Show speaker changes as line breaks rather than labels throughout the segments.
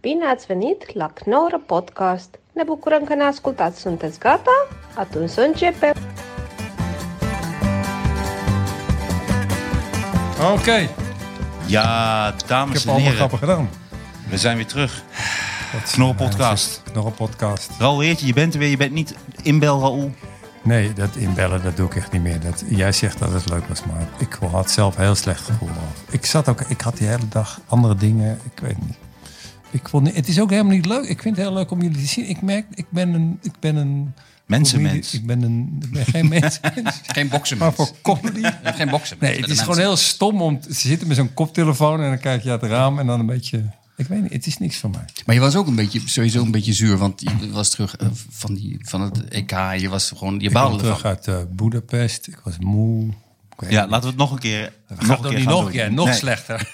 Bine ați venit la Knorr Podcast! Ne bucurăm că ne ascultați! Sunteți gata? Atunci să începem!
Oké,
Ja,
ik
dames
heb
en
allemaal
heren,
grappen gedaan.
we zijn weer terug.
Dat is-
Knorren podcast.
eh, Knorren podcast.
Raoul Heertje, je bent er weer. Je bent niet in Bel Raoul.
Nee, dat inbellen, dat doe ik echt niet meer. Dat, jij zegt dat het leuk was, maar ik had zelf heel slecht gevoel. over. Ik zat ook, ik had die hele dag andere dingen, ik weet niet. Ik vond, niet- het is ook helemaal niet leuk. Ik vind het heel leuk om jullie te zien. Ik merk, ik ben een... Ik ben een
Mensenmens.
Ik ben, een, ik ben geen mensenmens,
Geen boksen.
maar voor comedy.
Geen boksen.
Nee, het is gewoon heel stom om te zitten met zo'n koptelefoon en dan kijk je uit het raam en dan een beetje... Ik weet niet, het is niks voor mij.
Maar je was ook een beetje, sowieso een beetje zuur, want je was terug eh, van, die, van het EK. Je was gewoon, je
Ik kwam
baalde
terug
ervan.
uit eh Boedapest. Ik was moe. Ik weet
Ja,
niet.
laten we het nog een keer
We gaan
een
het
keer
niet
gaan
nog
doen.
een keer. Nog
Nee.
slechter.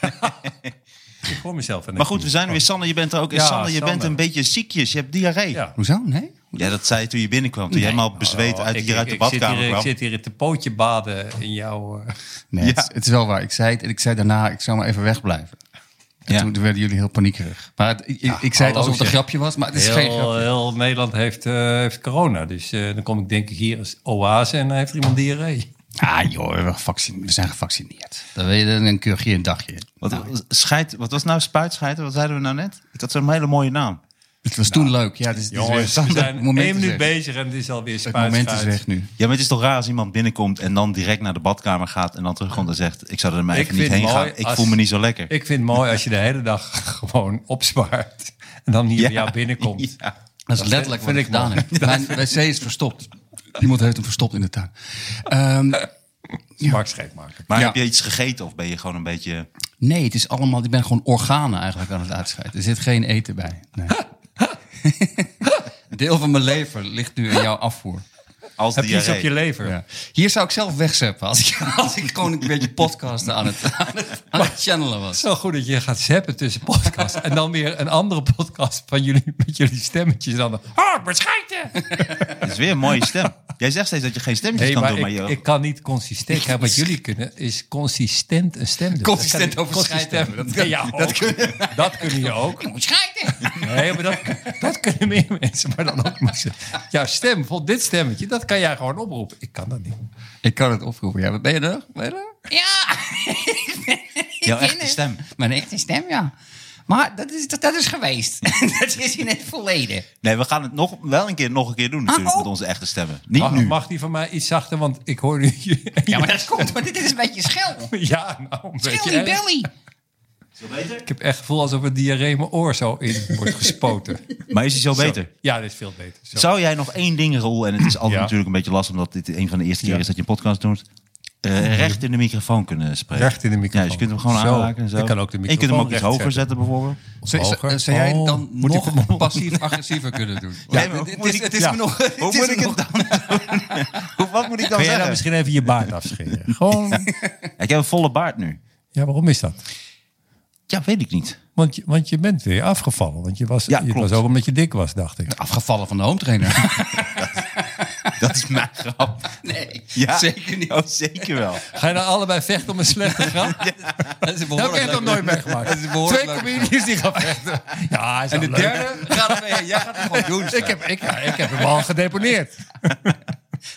ik hoor mezelf. En
Maar goed, we zijn er weer. Sanne, je bent er ook. En
Ja,
Sanne, je
Sanne.
bent een beetje ziekjes. Je hebt diarree.
Ja.
Ja,
Hoezo? Nee?
dat zei je toen je binnenkwam. Toen je helemaal bezweet uit, hier uit de badkamer
zit hier,
kwam.
Ik zit hier te pootje baden in jouw... eh,
Nee,
Ja.
het, is- het is wel waar. Ik zei het en ik zei daarna, ik zou maar even wegblijven. En
Ja.
toen werden jullie heel paniekerig. Maar het- ik, ik zei het alsof het een
zeg.
grapje was, maar het is geen
heel,
grapje.
heel Nederland heeft, eh, heeft corona. Dus eh, dan kom ik denk ik hier als oase en dan heeft er iemand diarree.
Ah joh, we, hebben gevaccine- we zijn gevaccineerd. Dan, weet je, dan keur je een dagje.
Wat, scheid, wat was nou spuitscheiden? Wat zeiden we nou net? Ik had zo'n hele mooie naam.
Het was toen leuk. Ja, het is, het is weer-
Jongens, Dus we
het
zijn één
moment is
minuut
weg.
bezig en het is alweer
Het
spuit.
moment is
spuit.
weg nu.
Ja, maar het is toch raar als iemand binnenkomt en dan direct naar de badkamer gaat en dan terugkomt en zegt: Ik zou er maar
Ik
even niet
vind
heen
het
gaan.
mooi
Ik
als-
voel me niet zo lekker.
Ik vind het mooi als je de hele dag gewoon opspaart. En dan hier bij jou binnenkomt.
Ja.
Dat is letterlijk
vind
wat ik
ik
gedaan heb. Mijn wc is verstopt. Iemand heeft hem verstopt in de tuin. Ehm,
Mark Scheepmaker.
Maar
Ja.
heb je iets gegeten of ben je gewoon een beetje.
nee, het is allemaal... Ik ben gewoon organen eigenlijk aan het uitscheiden. Er zit geen eten bij. Nee. Een Deel van mijn lever ligt nu in jouw afvoer.
Als
Heb je iets op
diarree.
je lever?
Ja. Hier zou ik zelf wegzeppen als ik, als ik gewoon een beetje podcasten aan het, aan het, aan het channelen was.
Het is wel goed dat je gaat zappen tussen podcasts. en dan weer een andere podcast van jullie met jullie stemmetjes. Dan, oh, ik ben scheiden!
Het is weer een mooie stem. Jij zegt steeds dat je geen stemmetjes
Nee,
kan
maar
doen, maar
ik,
je...
ik kan niet consistent. Kijk, wat jullie kunnen is consistent een stem doen.
Consistent
Dat kan ik-
over scheiden
consistent-
hebben. Dat
kun- ja, ook. Dat kunnen je ook.
Ik moet scheiden.
Nee, maar dat, dat kunnen meer mensen. Maar dan ook mensen. Jouw stem, bijvoorbeeld dit stemmetje, dat kan jij gewoon oproepen. Ik kan dat niet.
Ik kan het oproepen. Ja, ben je er? Ben je er? Ja!
jouw echte stem.
Mijn echte stem, ja. Maar dat is, dat, dat is geweest. dat is in het verleden.
Nee, we gaan het nog, wel een keer nog een
Ah,
keer doen
oh.
natuurlijk met onze echte stemmen. Niet
Mag,
nu.
mag die van mij iets zachter? Want ik hoor nu...
Ja, maar dat komt, want dit is een beetje schel.
Ja, nou, een beetje
Schilly
erg.
Belly.
Ik heb echt het gevoel alsof het diarree in mijn oor zo in wordt gespoten.
Maar is hij zo beter?
Ja, dit is veel beter. Zo.
Zou jij nog één ding, Roel, en het is altijd
Ja.
natuurlijk een beetje lastig omdat dit een van de eerste keer
Ja. Oh,
is dat je een podcast doet, eh, recht in de microfoon kunnen spreken.
Recht in de microfoon.
Ja, dus je kunt hem gewoon
Zo.
aanraken en zo.
Ik kan ook de
En je kunt hem
microfoon
ook iets
recht
hoger
zetten.
zetten bijvoorbeeld.
Z- z-
Hoger.
eh, zou jij
Oh,
dan
moet ik hem
nog passief-agressiever kunnen doen? Ja,
maar
het-
hoe
het
moet
is-
ik-
het is
ja.
me nog... het
Hoe
is
moet ik
me
het
nog-
dan doen? Wat moet
Kun jij
ik dan zeggen?
dan misschien even je baard afscheren? Gewoon.
Ik heb een volle baard nu.
Ja, waarom is dat?
Ja, weet ik niet.
Want je, want je bent weer afgevallen. Want je was,
Ja,
je
klopt.
was ook omdat je dik was, dacht ik.
Afgevallen van de home trainer.
Dat is mijn grap.
Nee,
Ja.
zeker niet.
Oh, zeker wel.
Ga je nou allebei vechten om een slechte grap?
Dat is een
Dat
behoorlijk
heb ik nog
leuk-
nooit
Dat is
meegemaakt.
een behoorlijk
Twee
leuk-
comedians die gaan vechten. Ja, is
En de
wel leuk.
derde gaat er mee. Jij gaat het gewoon doen.
Ik heb, ik, ja, ik heb hem al gedeponeerd.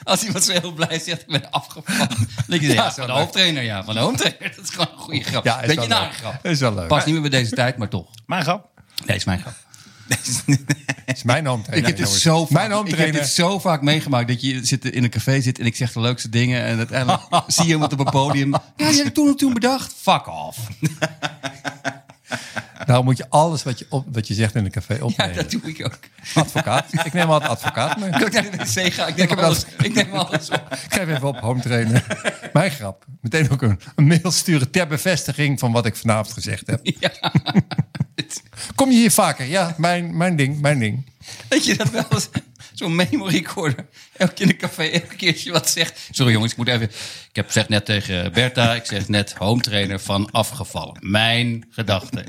Als iemand zo heel blij zegt, ik ben afgevallen. Dan denk je, ja, van de home trainer, ja. Van de home trainer. Dat is gewoon een goede grap.
Ja, is
Beetje
wel
na
leuk.
een grap.
Is wel leuk.
Past niet meer bij deze tijd, maar toch.
Mijn grap.
Nee, is mijn grap.
Is mijn home trainer,
Ik heb,
jongens.
dit zo
Mijn
vaak,
home
ik heb
trainer.
dit zo vaak meegemaakt dat je zit in een café zit en ik zeg de leukste dingen en uiteindelijk zie je iemand op een podium. Ja, die heb ik toen en toen bedacht. Fuck off.
Nou moet je alles wat je, op, wat je zegt in een café
Ja,
opnemen.
dat doe ik ook.
Advocaat. Ik neem altijd advocaat mee.
Kan ik naar de wc gaan? Ik neem
heb
alles,
dat-
ik neem alles op.
Ik Geef even op, home trainer. Mijn grap. Meteen ook een, een mail sturen ter bevestiging van wat ik vanavond gezegd heb.
Ja.
Kom je hier vaker? Ja, mijn, mijn ding, mijn ding.
Weet je dat wel eens? Zo'n memory recorder. Elke keer in een café, elke keer als je wat zegt. Sorry jongens, ik moet even... Ik heb zeg net tegen Bertha, ik zeg net home trainer van afgevallen. Mijn gedachte.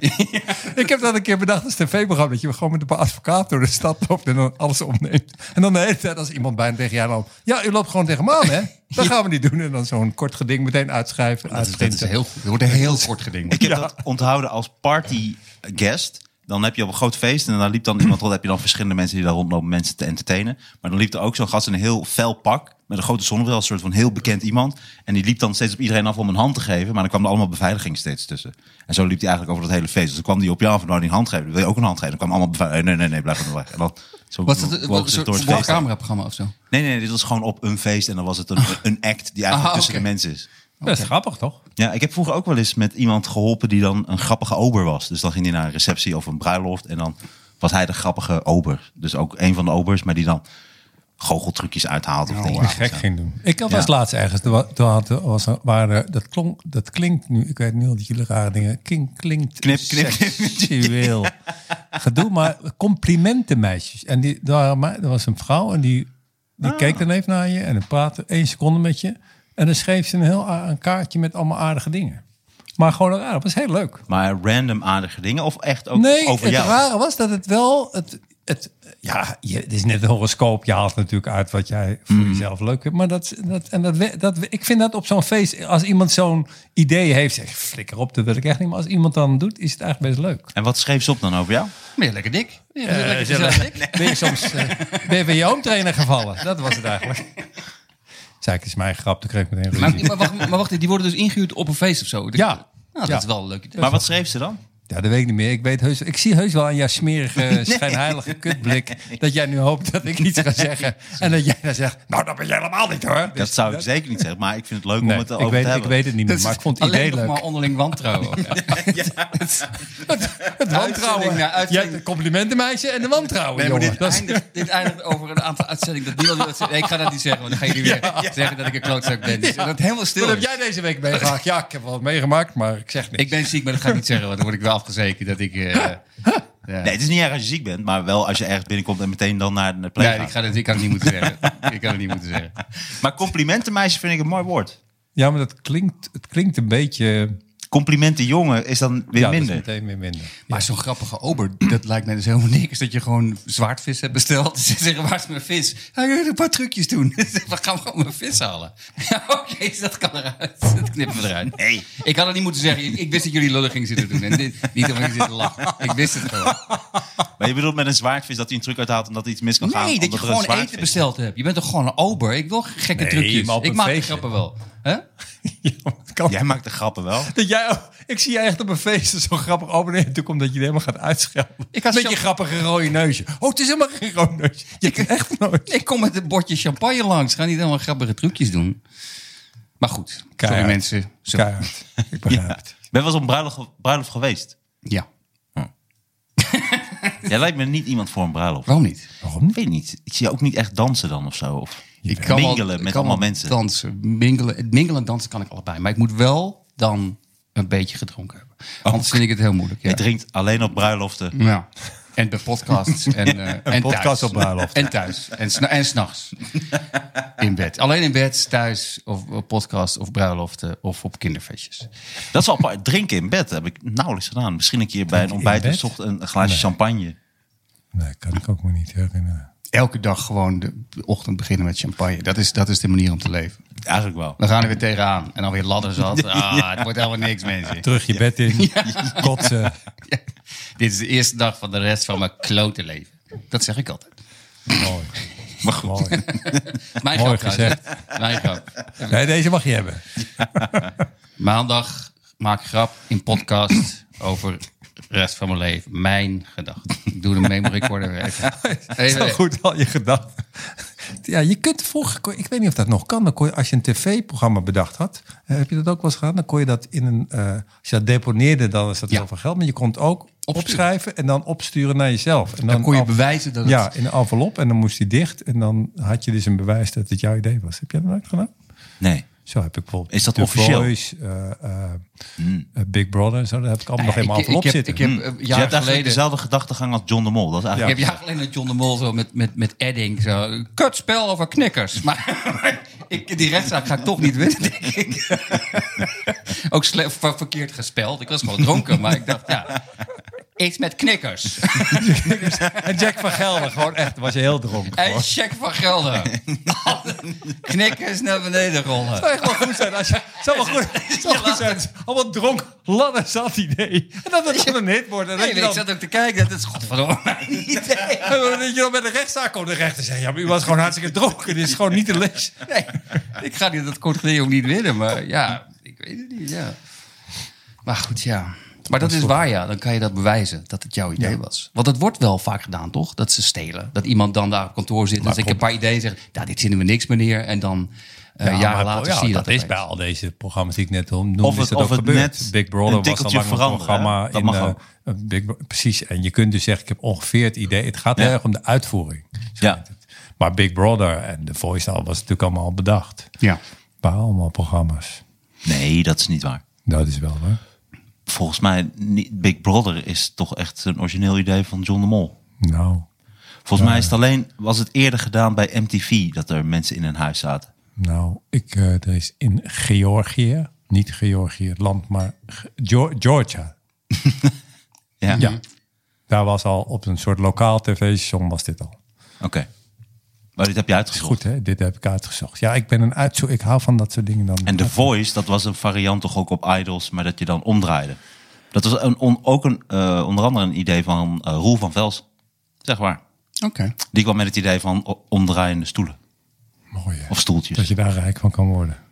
Ik heb dat een keer bedacht als tv-programma. Dat je gewoon met een paar advocaten door de stad loopt en dan alles opneemt. En dan de hele tijd als iemand bijna tegen jou loopt. Ja, u loopt gewoon tegen me aan, hè? Dat gaan we niet doen. En dan zo'n kort geding meteen uitschrijven.
Dat is
uitprinten.
heel goed. Er wordt een heel kort geding.
Ik heb dat onthouden als party guest. dan heb je op een groot feest en dan liep dan iemand rond. heb je dan verschillende mensen die daar rondlopen mensen te entertainen. Maar dan liep er ook zo'n gast in een heel fel pak. Met een grote zonnebril, een soort van heel bekend iemand. En die liep dan steeds op iedereen af om een hand te geven. Maar dan kwam er allemaal beveiliging steeds tussen. En zo liep hij eigenlijk over dat hele feest. Dus dan kwam die op je af en dan die hand geven. Wil je ook een hand geven? Dan kwam allemaal beveiliging. Nee, nee, nee, blijf maar weg. En dan zo
Was het
wogen
eh,
ze
wat, een
door
soort
het feest heen.
cameraprogramma of zo?
Nee, nee, dit was gewoon op een feest. En dan was het
Oh.
een, een act die eigenlijk
Ah,
Aha,
tussen
oké.
de mensen is.
Dat is grappig, toch?
Ja, ik heb vroeger ook wel eens met iemand geholpen die dan een grappige ober was. Dus dan ging hij naar een receptie of een bruiloft en dan was hij de grappige ober. Dus ook een van de obers, maar die dan goocheltrucjes uithaalt of dingen.
Oh, gek
Zo.
ging doen. Ik had als
Ja.
laatst ergens, er wa- toen had, was, er- waren, dat, klonk, dat klinkt nu, ik weet nu al dat jullie rare dingen, klinkt, klinkt
Knip, knip, knip.
seksueel gedoe, maar complimenten meisjes. En die, daar, waren mij- er was een vrouw en die, die
Ah.
keek dan even naar je en dan praatte één seconde met je. En dan schreef ze een heel a- een kaartje met allemaal aardige dingen. Maar gewoon raar, dat was heel leuk.
Maar random aardige dingen of echt ook
Nee,
over
het
jou?
rare was dat het wel... Het, het, ja, je, het is net een horoscoop. Je haalt natuurlijk uit wat jij voor jezelf leuk vindt. Maar dat, dat, en dat, we- dat, we- ik vind dat op zo'n feest... Als iemand zo'n idee heeft, zeg flikker op, dat wil ik echt niet. Maar als iemand dan doet, is het eigenlijk best leuk.
En wat schreef ze op dan over jou?
Ben je lekker dik? Ben je lekker
Eh,
gezellig dik?
Ben je soms eh, ben je van je oomtrainer gevallen? Dat was het eigenlijk. Zei ik, is mijn grap, toen kreeg ik meteen
Maar,
ruzie.
maar, wacht, maar wacht, die worden dus ingehuurd op een feest of zo? Dat-
Ja.
Nou, dat
Ja.
is wel een leuk idee.
Maar wat schreef ze dan?
Ja, dat weet ik niet meer. Ik, weet heus, ik zie heus wel aan jouw smerige, schijnheilige kutblik... dat jij nu hoopt dat ik iets ga zeggen. En dat jij dan zegt, nou, dat ben jij helemaal niet hoor.
Dat zou ik zeker niet zeggen, maar ik vind het leuk
Nee,
om het
ik,
erover
weet,
te
ik
hebben.
weet het niet meer,
Dat
maar
is
ik vond het
alleen
idee
nog
leuk.
maar onderling wantrouwen.
Het wantrouwen.
Uitzending na
Je
uitzending.
hebt een complimentenmeisje en de wantrouwen,
Nee, maar
jongen.
dit Ah,
Dat is-
eindigt, dit eindigt over een aantal uitzendingen. Dat niemand wil dat ze- nee, ik ga dat niet zeggen, want dan gaan jullie weer zeggen dat ik een klootzak ben. Dus Dat het helemaal stil
Wat heb
is.
jij deze week meegemaakt? Ja, ik heb wat meegemaakt, maar ik zeg niks.
Ik ben ziek, maar dat ga ik niet zeggen, want dan word ik wel afgezekerd dat ik... eh, ja.
Nee, het is niet erg als je ziek bent, maar wel als je ergens binnenkomt en meteen dan naar de plek
Nee, ik, ga dat, ik kan het niet moeten zeggen. Ik kan het niet moeten zeggen.
Maar complimentenmeisje vind ik een mooi woord.
Ja, maar dat klinkt, het klinkt een beetje...
Complimenten jongen is dan weer
ja, dat is
minder.
meteen weer minder.
Maar zo'n grappige ober, dat lijkt mij dus helemaal niks. Dat je gewoon zwaardvis hebt besteld. Ze zeggen, waar is mijn vis? Hij wil een paar trucjes doen. We gaan gewoon mijn vis halen. Ja, Oké, dus dat kan eruit. Dat knippen we eruit.
Nee.
Ik had het niet moeten zeggen. Ik- Ik wist dat jullie lullig gingen zitten doen. En dit, niet omdat ik zit te lachen. Ik wist het gewoon.
Maar je bedoelt met een zwaardvis dat hij een truc uithaalt en dat er iets mis kan gaan?
Nee, dat je
omdat er een
gewoon
zwaardvis-
eten besteld hebt. Je bent toch gewoon een ober? Ik wil geen gekke
Nee,
trucjes.
maar op
Ik
een
maak die
feestje.
grappen wel. Hè?
Ja, maar het kan
Jij maakt de grappen wel.
Dat jij, ik zie jij echt op een feest zo grappig openen. En toen komt dat je het helemaal gaat uitschelden.
Ik
Ik
had
had Met
zelf-
je grappige rode neusje. Oh, het is helemaal geen rode neusje. Je krijgt het nooit.
Ik kom met een bordje champagne langs. Ga niet helemaal grappige trucjes doen. Maar goed, sorry
Keihard.
mensen. Zo.
Keihard. Ik begrijp
Ja.
het.
Ik ben wel eens op een bruiloft, bruiloft geweest.
Ja,
Jij lijkt me niet iemand voor een bruiloft.
waarom niet?
Waarom
Ik weet niet. Ik zie je ook niet echt dansen dan of zo. Of
Ik
mingelen
wel- ik
met
kan
allemaal
wel
mensen.
Dansen, mingelen, het mingelen en dansen kan ik allebei. Maar ik moet wel dan een beetje gedronken hebben. Anders vind ik het heel moeilijk. Ja.
Je drinkt alleen op bruiloften.
Ja. En bij podcasts. En, eh, en thuis.
podcast op bruiloft.
En thuis. En, sna- en s'nachts. In bed. Alleen in bed, thuis, of op podcast, of bruiloften, of op kinderfeestjes.
Dat is wel apart. Drinken in bed heb ik nauwelijks gedaan. Misschien een keer bij een ontbijt
bed?
of zocht een, een glaasje champagne.
Nee, kan ik ook me niet herinneren.
Elke dag gewoon de ochtend beginnen met champagne. Dat is, dat is de manier om te leven.
Eigenlijk wel.
We gaan er weer tegenaan. En dan weer ladders af. Ah, het wordt helemaal niks, mensen.
Terug je bed in. Kotsen.
Ja. Dit is de eerste dag van de rest van mijn klote leven. Dat zeg ik altijd.
Mooi. Maar Mooi.
Mijn
Mooi
grap trouwens, hè. Mijn grap.
Nee, deze mag je hebben.
Maandag maak ik grap in podcast over de rest van mijn leven. Mijn gedachten. Ik doe de memory recorder weer even. Even-
Zo goed al je gedachten. Ja, je kunt vroeger, kon je- ik weet niet of dat nog kan, dan kon je, als je een tv-programma bedacht had, eh, heb je dat ook wel eens gedaan? Dan kon je dat in een, eh, als je dat deponeerde, dan is dat
Ja.
heel veel geld, maar je kon het ook
Opsturen.
opschrijven en dan opsturen naar jezelf. En dan,
Dan kon je
af-
bewijzen dat het...
Ja, in een envelop en dan moest die dicht en dan had je dus een bewijs dat het jouw idee was. Heb jij dat nooit gedaan?
Eh,
Nee. Dus
Zo heb ik bijvoorbeeld.
Is dat
The
officieel?
Voice, eh, eh, eh, Big Brother en zo, dat heb ik allemaal nog
ik,
helemaal
Hmm.
envelop
ik, heb,
zitten. Hm.
ik heb eh,
Dus je
jaar
hebt
geleden...
eigenlijk dezelfde gedachtegang als John de Mol. Dat is
Ik heb
eigenlijk...
jaar geleden met John de Mol zo met, met, met Edding. Zo, kut spel over knikkers. Maar, ik, die rechtszaak ga ik toch niet winnen, denk ik. Ook sle- ver- verkeerd gespeld. Ik was gewoon dronken, maar ik dacht, ja. Iets met knikkers.
En Jack van Gelder, gewoon echt, was je heel dronken.
en
hoor.
check van Gelder. knikkers naar beneden rollen.
zou echt wel goed zijn als je... Zou wel goed, zou goed zijn. als- Allemaal dronk, ladder zat idee. En dat het dan een hit wordt. En dat
Nee,
je
ik
dan,
zat ook te kijken. Dat is godverdomme mijn idee.
en dat je dan bij de rechtszaak komt. De rechter zegt, ja, maar u was gewoon hartstikke dronken. Dit is gewoon niet te lezen.
Nee, ik ga dit, dat kort geleden ook niet winnen. Maar ja, ik weet het niet. Ja. Maar goed, ja. Maar dat is waar, ja. Dan kan je dat bewijzen, dat het jouw idee was. Want dat wordt wel vaak gedaan, toch? Dat ze stelen. Dat iemand dan daar op kantoor zit en zegt, ik heb een paar ideeën zeg, nou, dit vinden we niks, meneer. En dan eh
Ja,
jaren
maar
later
ja,
zie je dat.
dat is bij
opeens.
al deze programma's die ik net noemde, of
Of
het,
het-
is dat
of
ook
het
gebeurd.
net
Big
een
Brother was al
tikkeltje
lang een
veranderen, hè?
programma.
Dat
in,
mag
eh,
ook.
een Big Bro- precies, en je kunt dus zeggen, ik heb ongeveer het idee. Het gaat
Ja.
heel erg om de uitvoering. zo
Ja.
heet het. Maar Big Brother en The Voice al was natuurlijk allemaal al bedacht.
Ja.
Waren allemaal programma's.
Nee, dat is niet waar.
Dat is wel, hè?
Volgens mij, niet- Big Brother is toch echt een origineel idee van John de Mol.
Nou,
Volgens mij is het alleen, was het eerder gedaan bij MTV dat er mensen in een huis zaten.
nou, ik, eh, er is in Georgië, niet Georgië het land, maar Ge- Geo- Georgia.
Ja.
Ja. Daar was al op een soort lokaal tv-station was dit al.
Oké. Maar dit heb je uitgezocht.
Goed, hè? Dit heb ik uitgezocht. Ja, ik ben een uitzoek. Ik hou van dat soort dingen dan.
En The Voice, dat was een variant toch ook op Idols, maar dat je dan omdraaide. Dat was een, on- ook een, eh, onder andere een idee van eh, Roel van Vels. Zeg maar.
Oké.
Die kwam met het idee van o- omdraaiende stoelen.
Ah, Mooi, hè?
Of stoeltjes.
Dat je daar rijk van kan worden.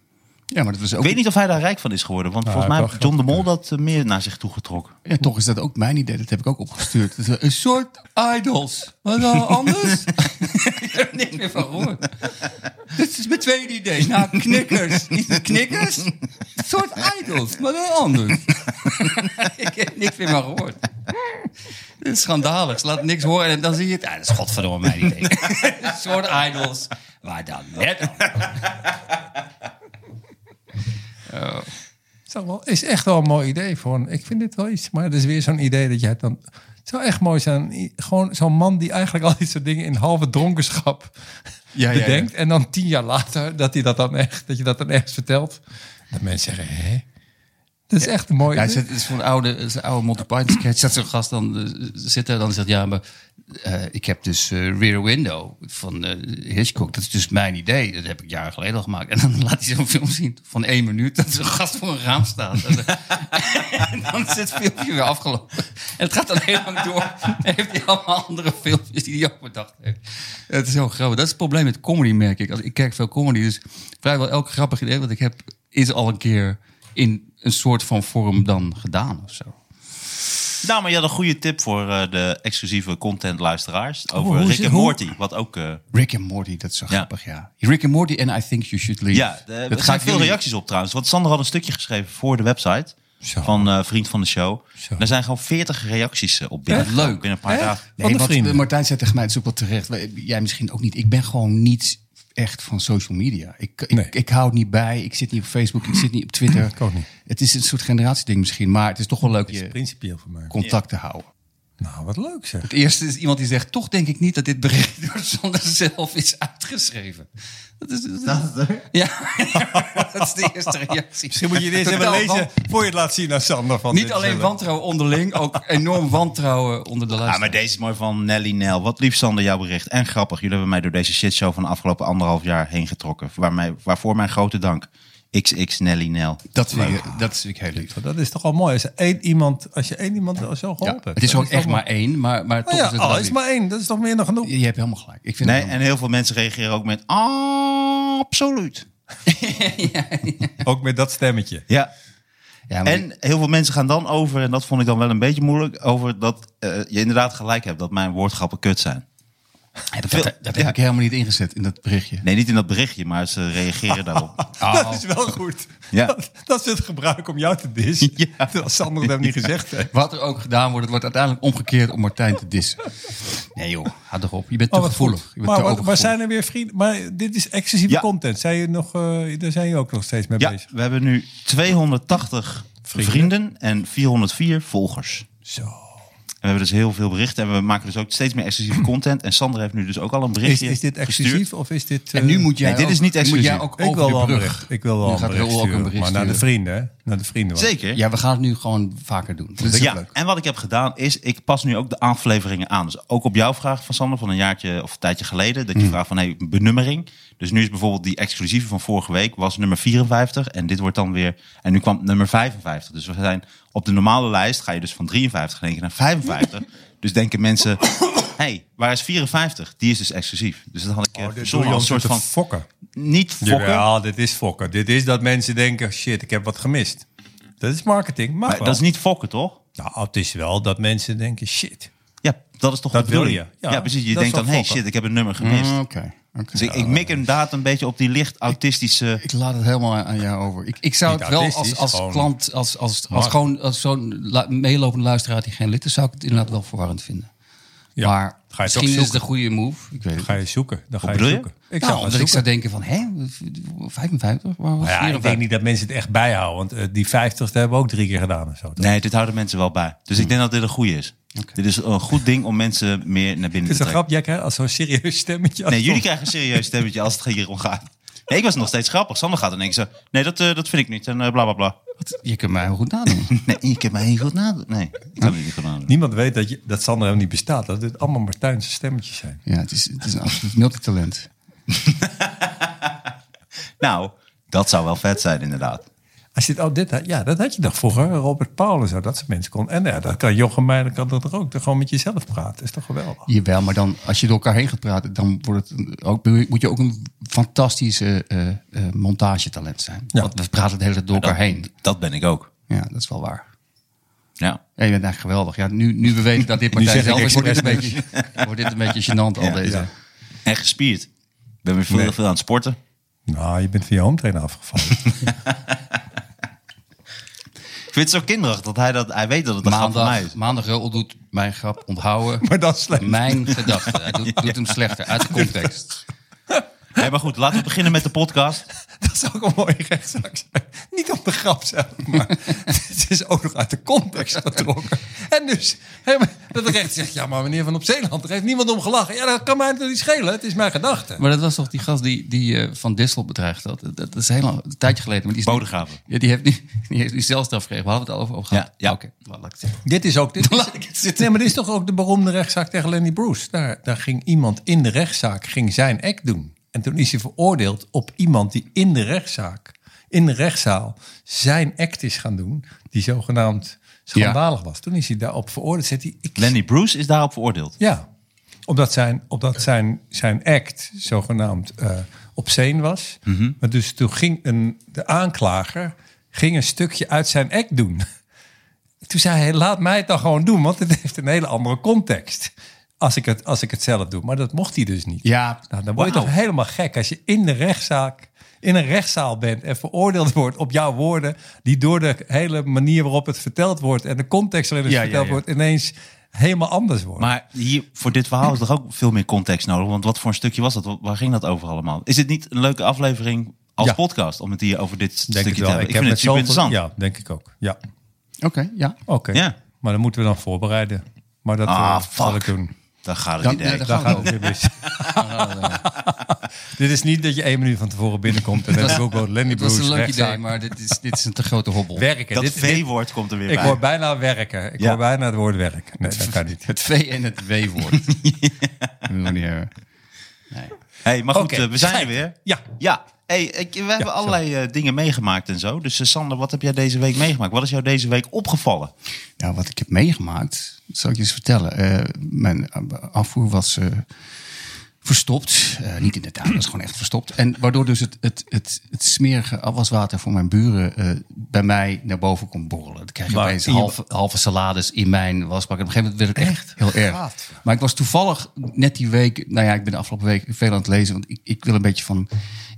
Ja, maar dat was ook,
Ik weet niet of hij daar rijk van is geworden. Want
Nou,
volgens mij
wel
heeft John de Mol dat eh, meer naar zich toe getrokken.
ja, toch is dat ook mijn idee. Dat heb ik ook opgestuurd. Dat is een soort
Idols. Wat dan anders? ik heb er niks meer van gehoord. Dit is mijn tweede idee. Nou, knikkers. Niet de knikkers. Een soort idols. Maar dan anders. ik heb niks meer van gehoord. Dit is schandalig. Ze laat niks horen en dan zie je het. Ah, dat is godverdomme mijn idee. Een soort idols. Maar dan net anders.
Het is, wel, is echt wel een mooi idee voor een- Ik vind dit wel iets, maar het is weer zo'n idee dat je het dan. Het zou echt mooi zijn. i- Gewoon zo'n man die eigenlijk al dit soort dingen in halve dronkenschap
Ja, ja, ja.
bedenkt. En dan tien jaar later dat, hij dat, dan echt, dat je dat dan ergens vertelt. Dat mensen zeggen, hè? Dat is echt een mooi
Ja,
idee.
ze-
Het is van een oude, het is een oude Monty Python sketch. Dat zo'n gast dan eh, zit er dan zegt... Ja, maar eh, ik heb dus eh, Rear Window van eh, Hitchcock. Dat is dus mijn idee. Dat heb ik jaren geleden al gemaakt. En dan laat hij zo'n film zien van één minuut... dat zo'n gast voor een raam staat. En, eh, en dan is het filmpje weer afgelopen. En het gaat dan heel lang door. En heeft hij allemaal andere filmpjes die hij ook bedacht heeft. Het is heel grappig. Dat is het probleem met comedy, merk ik. Als, ik kijk veel comedy, dus vrijwel elk grappig idee wat ik heb... is al een keer in een soort van vorm dan gedaan of zo.
Nou, maar je had een goede tip voor eh, de exclusieve content luisteraars. Over
Oh, hoe
Rick
zit-
en
hoe-
Morty. Wat ook... eh,
Rick and Morty. Dat is zo
Ja.
grappig, ja. Rick and Morty en I Think You Should Leave.
ja, eh, er
dat
zijn
gaat
veel
veel reacties.
reacties op trouwens. Want Sander had een stukje geschreven voor de website.
Zo.
Van eh, Vriend van de Show.
Zo.
Er zijn gewoon 40 reacties eh, op binnen.
Echt? Leuk.
Binnen een paar
Echt?
dagen.
Van de
wat
vrienden.
Martijn zei tegen mij, het is ook wel terecht. wij- Jij misschien ook niet. Ik ben gewoon niet echt van social media. Ik, ik,
Nee.
ik hou het niet bij. Ik zit niet op Facebook. Ik zit niet op Twitter.
Ik ook niet.
Het is een soort generatieding misschien. Maar het is toch wel leuk je
principieel voor mij.
contact te houden.
Nou, wat leuk zeg.
Het eerste is iemand die zegt, toch denk ik niet dat dit bericht door Sander zelf is uitgeschreven. Dat is, dat is- Ja, dat is de eerste reactie.
Misschien moet je dit eens even
Totaal
lezen
wan-
voor je het laat zien aan Sander. Van
Niet
dit
alleen
zelf.
wantrouwen onderling, ook enorm wantrouwen onder de
Ja,
luisteraar.
Ah, maar deze is mooi van Nelly Nel. Wat lief Sander, jouw bericht. En grappig, jullie hebben mij door deze shitshow van de afgelopen anderhalf jaar heen getrokken. Waar mij, waarvoor mijn grote dank. XX Nelly Nel.
Dat vind, ik, dat vind ik heel lief.
Dat is toch al mooi. Als, je één iemand, als je één iemand al zo geholpen hebt.
het is
Dat
ook echt
toch
maar één, maar, maar toch
Oh ja,
is het
oh,
wel
is
lief.
maar één. Dat is toch meer dan genoeg.
Je, je hebt helemaal gelijk. Ik vind
Nee,
het
en heel veel mensen reageren ook met absoluut.
Ook met dat stemmetje.
Ja.
Ja, maar
En heel veel mensen gaan dan over, en dat vond ik dan wel een beetje moeilijk, over dat eh, je inderdaad gelijk hebt dat mijn woordgrappen kut zijn.
dat,
veel-
dat, dat heb ik helemaal niet ingezet in dat berichtje.
Nee, niet in dat berichtje, maar ze reageren daarop.
Oh.
Dat is wel goed.
Ja.
Dat, dat is het gebruik om jou te dissen.
Ja.
Terwijl Sander het hem niet gezegd heeft.
Wat er ook gedaan wordt, het wordt uiteindelijk omgekeerd om Martijn te dissen.
nee joh,
Ga toch op. Je bent te gevoelig. Je bent
Maar,
te
Oh, wat- maar
overgevoelig.
zijn er weer vrienden? Maar dit is exclusieve
Ja.
content. Zijn je nog, eh, daar zijn je ook nog steeds mee
Ja,
bezig.
we hebben nu 280 vrienden en 404 volgers.
Zo.
we hebben dus heel veel berichten. En we maken dus ook steeds meer exclusieve content. En Sander heeft nu dus ook al een
Is,
berichtje
is dit
gestuurd.
exclusief of is dit...
En nu
eh,
moet jij
nee, dit
ook-
is niet
Moet jij
exclusief.
Ik
ook over
wil
de
wel een
brug.
bericht. Ik wil wel
Nu
een
gaat
bericht
Roel ook een
sturen,
bericht
Maar naar de
sturen.
vrienden, hè? Naar de vrienden. hoor.
Zeker.
Ja, we gaan het nu gewoon vaker doen. Dat is ook
ja,
leuk.
en wat ik heb gedaan is, ik pas nu ook de afleveringen aan. Dus ook op jouw vraag van Sander van een jaartje of een tijdje geleden.
Mhm.
Dat je vraagt van, hey, benummering. Dus nu is bijvoorbeeld die exclusieve van vorige week was nummer 54. En dit wordt dan weer, en nu kwam nummer 55. Dus we zijn op de normale lijst, ga je dus van 53 in één keer naar 55. dus denken mensen, hey, waar is 54? Die is dus exclusief. Dus dat had ik eh,
Oh, dit doe
verzonnen
je om
als een
soort
soort van,
fokken.
niet fokken.
Ja, dit is fokken. Dit is dat mensen denken, shit, ik heb wat gemist. Dat is marketing, mag
Maar
wel.
dat is niet fokken, toch?
Nou, het is wel dat mensen denken, shit.
Ja, dat is toch
Dat
de bedoeling?
wil je. Ja,
Ja, precies. Je
dat
denkt
is
dan,
wel
hey,
fokken. Mhm.
shit, ik heb een nummer gemist.
Ah, Oké. oké.
Dus ik, ik mik inderdaad een beetje op die licht autistische...
Ik laat het helemaal aan jou over. Ik, ik zou
Niet
het wel als,
autistisch,
als
gewoon-
klant, als, als, als,
Maar-
gewoon als zo'n la- meelopende luisteraar die geen lid is, zou ik het inderdaad wel verwarrend vinden.
Ja,
maar
ga je toch
misschien is het
zoeken.
een goede move. Ik weet het.
Dan ga je zoeken. Dan ga
Wat
je
bedoel je?
zoeken. Ik
Ik nou,
zou
omdat
gaan
ik zou
zoeken.
denken van, hè, 55? Waar was
Nou Ja,
54?
ik denk niet dat mensen het echt bijhouden. Want eh, die 50 dat hebben we ook drie keer gedaan. En zo. toch?
Nee, dit houden mensen wel bij. Dus ik denk dat dit een goede is. Dit is een goed ding om mensen meer naar binnen
Het is
te
een
trekken.
grap, jij krijgt als zo'n serieus stemmetje.
Nee, jullie krijgen een serieus stemmetje als het hierom gaat. Nee, ik was nog steeds grappig. Sander gaat en denkt zo... Nee, dat, eh, dat vind ik niet. En eh, bla, bla, bla.
Je kunt mij heel goed nadoen.
Nee, ik heb mij niet goed nadenken. Nee, ik kan het niet goed nadenken.
Niemand weet dat, je, dat Sander helemaal niet bestaat. Dat dit allemaal Martijnse stemmetjes zijn.
ja, het is, het is een absoluut multitalent.
Nou, dat zou wel vet zijn inderdaad.
Als je het, oh, dit, had- ja, dat had je nog vroeger. Robert Paul en zo, dat soort mensen kon. En ja, dat kan Jochem Meijer, kan dat ook. Dan gewoon met jezelf praten. is toch geweldig?
Jawel, maar dan, als je door elkaar heen gaat praten, dan wordt het een- ook, moet je ook een fantastische eh eh, montagetalent zijn.
Ja.
Want we praten de hele tijd door
Dat,
elkaar heen.
dat ben ik ook.
Ja, dat is wel waar.
Ja.
Ja, je bent eigenlijk geweldig. Ja, nu, nu we weten dat dit
zeg
partij
ik
zelf is, wordt dit, een
expres
beetje, wordt dit een beetje gênant al
Ja,
deze.
ja.
En gespierd. Ik ben weer veel, veel aan het sporten.
Nou, je bent van je home trainer afgevallen.
Ik vind het zo kinderachtig dat hij, dat, hij weet dat het een grap van mij
Maandag,
is.
maandag Raoul doet mijn grap onthouden.
maar dat is slecht.
Mijn gedachte. Hij doet, doet hem slechter uit de context.
Hey, maar goed, laten we beginnen met de podcast.
Dat zou ook een mooie rechtszaak zijn. Niet om de grap zelf, maar het is ook nog uit de context getrokken. En dus, hè, maar dat de recht zegt, ja, maar meneer Van op Zeeland, er heeft niemand om gelachen. Ja, dat kan mij natuurlijk niet schelen, het is mijn gedachte.
Maar dat was toch die gast die, die eh, Van Dissel bedreigd had? Dat, dat is heel lang, een tijdje geleden. Maar die is nu-
Bodegraven.
Ja, die heeft nu, die heeft nu zelfstraf gekregen. We hadden het al over, over gehad.
Ja, ja.
oké. Laat- laat ik het zeggen.
Dit is ook... Dit is,
Laat ik het zitten.
nee, maar dit is toch ook de beroemde rechtszaak tegen Lenny Bruce. Daar, daar ging iemand in de rechtszaak ging zijn act doen. En toen is hij veroordeeld op iemand die in de rechtszaak, in de rechtszaal, zijn act is gaan doen. Die zogenaamd schandalig was. Toen is hij daarop veroordeeld. Zegt hij, ik
Lenny Bruce is daarop veroordeeld.
Ja, omdat zijn, omdat zijn, zijn act zogenaamd eh obscene was.
Mhm.
Maar dus toen ging een, de aanklager ging een stukje uit zijn act doen. Toen zei hij, laat mij het dan gewoon doen, want het heeft een hele andere context. Als ik het, als ik het zelf doe. Maar dat mocht hij dus niet.
Ja.
Nou, dan word je toch helemaal gek als je in de rechtszaak, in een rechtszaal bent en veroordeeld wordt op jouw woorden, die door de hele manier waarop het verteld wordt en de context waarin het
Ja, ja,
verteld
ja.
wordt, ineens helemaal anders worden.
Maar hier, voor dit verhaal is toch ook veel meer context nodig? Want wat voor een stukje was dat? Wa- Waar ging dat over allemaal? Is het niet een leuke aflevering als
Ja.
podcast om het hier over dit
Denk
stukje
het
te
wel.
hebben? Ik, vind het super
met zoveel-
interessant.
Ja, denk ik ook. Ja,
Oké, ja.
oké.
Ja.
Maar dan moeten we dan voorbereiden. Maar dat eh,
Ah,
zal
fuck.
ik doen.
Daar gaat het
Dan-
idee.
ja, dan
Daar
Gaan we
gaat het weer mis.
Ah,
Dit is niet dat je één minuut van tevoren binnenkomt en dan heb ik ook wel Lenny
Het was
Bruce
een leuk idee,
rechtszaak.
maar dit is, dit is een te grote hobbel.
Werken.
dat
Dit- dit-
V-woord komt er weer
ik
bij.
hoor bijna werken. Ik
Ja.
hoor bijna het woord werk. Nee, dat kan niet.
Het V en het W-woord. Dat wil ik eh, niet hebben.
Hey, maar goed,
Oké,
eh, we zijn er
schijt.
weer.
Ja.
Ja. Hey, ik, we hebben allerlei eh, dingen meegemaakt en zo. Dus eh, Sander, wat heb jij deze week meegemaakt? Wat is jou deze week opgevallen?
Nou, wat ik heb meegemaakt, zal ik je eens vertellen. Eh, mijn afvoer was eh, verstopt. Eh, niet in de tuin, dat was gewoon echt verstopt. En waardoor dus het, het, het, het smerige afwaswater voor mijn buren eh, bij mij naar boven kon borrelen. Dan krijg je
Maar
opeens
in je-
halve, halve salades in mijn wasbak. En op een gegeven moment werd het echt heel erg. Maar ik was toevallig net die week, nou ja, ik ben de afgelopen week veel aan het lezen. Want ik, ik wil een beetje van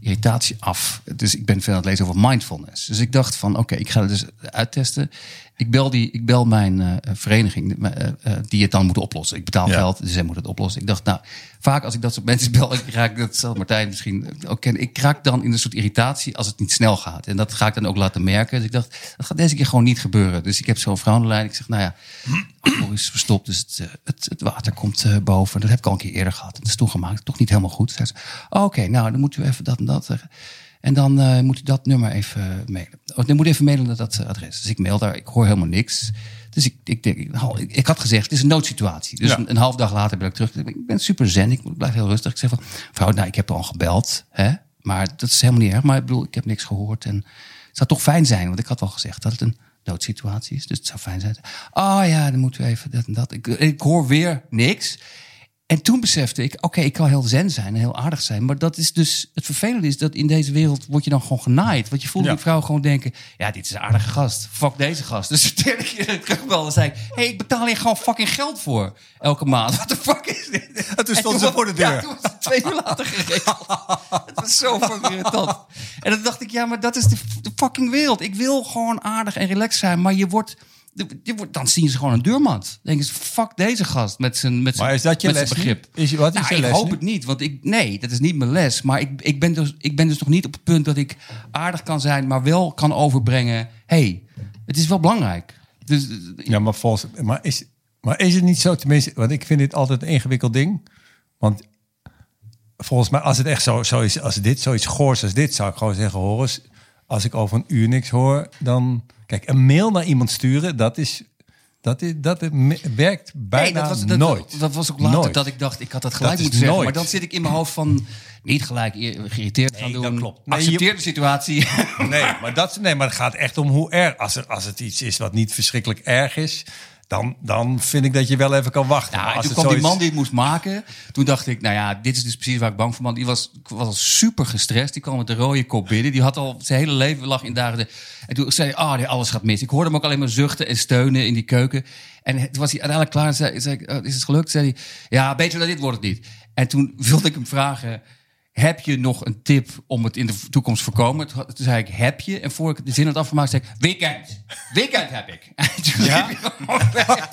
irritatie af. Dus ik ben veel aan het lezen over mindfulness. Dus ik dacht van, oké, ik ga het dus uittesten. Ik bel, die, ik bel mijn eh, vereniging eh, eh, die het dan moet oplossen. Ik betaal
Ja.
geld, dus zij moet het oplossen. Ik dacht, nou, vaak als ik dat soort mensen bel, ik raak dat zelf Martijn misschien ook kennen. Ik raak dan in een soort irritatie als het niet snel gaat. En dat ga ik dan ook laten merken. Dus ik dacht, dat gaat deze keer gewoon niet gebeuren. Dus ik heb zo'n vrouw aan de lijn. Ik zeg, nou ja, afvoer is verstopt, dus het, eh, het, het water komt eh, boven. Dat heb ik al een keer eerder gehad. Dat is toen gemaakt, toch niet helemaal goed. Zei ze, oh, oké, nou, dan moeten we even dat en dat. eh, En dan eh, moet u dat nummer even eh, mailen. Oh, dan moet u even mailen naar dat eh, adres. Dus ik mail daar, ik hoor helemaal niks. Dus ik, ik denk, nou, ik, ik had gezegd, het is een noodsituatie. Dus
Ja.
een, een half dag later ben ik terug. Ik ben super zen, ik blijf heel rustig. Ik zeg van, vrouw, nou, ik heb al gebeld, hè. Maar dat is helemaal niet erg. Maar ik bedoel, ik heb niks gehoord. En het zou toch fijn zijn, want ik had al gezegd dat het een noodsituatie is. Dus het zou fijn zijn. Oh ja, dan moeten we even dat en dat. Ik, ik hoor weer niks. En toen besefte ik, oké, ik kan heel zen zijn en heel aardig zijn. Maar dat is dus, het vervelende is dat in deze wereld word je dan gewoon genaaid. Want je voelt
Ja.
die vrouw gewoon denken, ja, dit is een aardige gast. Fuck deze gast. Dus de derde keer terugbel en zei ik, hey, ik betaal hier gewoon fucking geld voor. Elke maand. Wat de fuck is dit?
En toen stond
En
ze voor de
was-
deur.
Ja, toen was het twee uur later geregeld. het was zo fucking irritant. En dan dacht ik, ja, maar dat is de, de fucking wereld. Ik wil gewoon aardig en relaxed zijn, maar je wordt... Je wordt dan zien ze gewoon een deurmat. Dan denken ze, fuck deze gast met zijn met zijn-
Maar is dat je
met zijn
les nu?
begrip.
Is- wat is
Nou,
je
ik
les
hoop
nu?
het niet, want ik, nee, dat is niet mijn les. Maar ik, ik, ben dus, ik ben dus nog niet op het punt dat ik aardig kan zijn, maar wel kan overbrengen. hey, het is wel belangrijk. Dus, eh,
Ja, maar, volgens, maar, is, maar is het niet zo, tenminste, want ik vind dit altijd een ingewikkeld ding. Want volgens mij, als het echt zo, zo is, als dit zoiets goors als dit, zou ik gewoon zeggen, hoor eens, als ik over een uur niks hoor, dan... Kijk, een mail naar iemand sturen, dat is... Dat, is, dat het me- werkt bijna
nee, dat was, dat,
nooit.
Dat, was ook later
Nooit.
dat ik dacht, ik had dat gelijk
Dat is
moeten zeggen.
nooit.
Maar dan zit ik in mijn hoofd van, niet gelijk eer- geïrriteerd gaan doen.
dat klopt. Nee,
Accepteer
je-
de situatie.
Nee, maar, dat, nee, maar het gaat echt om hoe erg. Als, er, als het iets is wat niet verschrikkelijk erg is, dan, dan vind ik dat je wel even kan wachten.
Ja,
Maar
en
als
toen
het
kwam die
zoiets-
man die het moest maken. Toen dacht ik, nou ja, dit is dus precies waar ik bang voor ben. Die was, was al super gestrest. Die kwam met de rode kop binnen. Die had al zijn hele leven lag in dagen. de- En toen zei hij, ah, nee, alles gaat mis. Ik hoorde hem ook alleen maar zuchten en steunen in die keuken. En toen was hij uiteindelijk klaar. En zei, zei ik, "Oh, is het gelukt? Zei hij, ja, beter dan dit wordt het niet. En toen wilde ik hem vragen... Heb je nog een tip om het in de toekomst te voorkomen? Toen had- toen zei ik, heb je? En voor ik de zin had afgemaakt, zei ik, weekend. Weekend heb ik. En toen liep ik gewoon weg.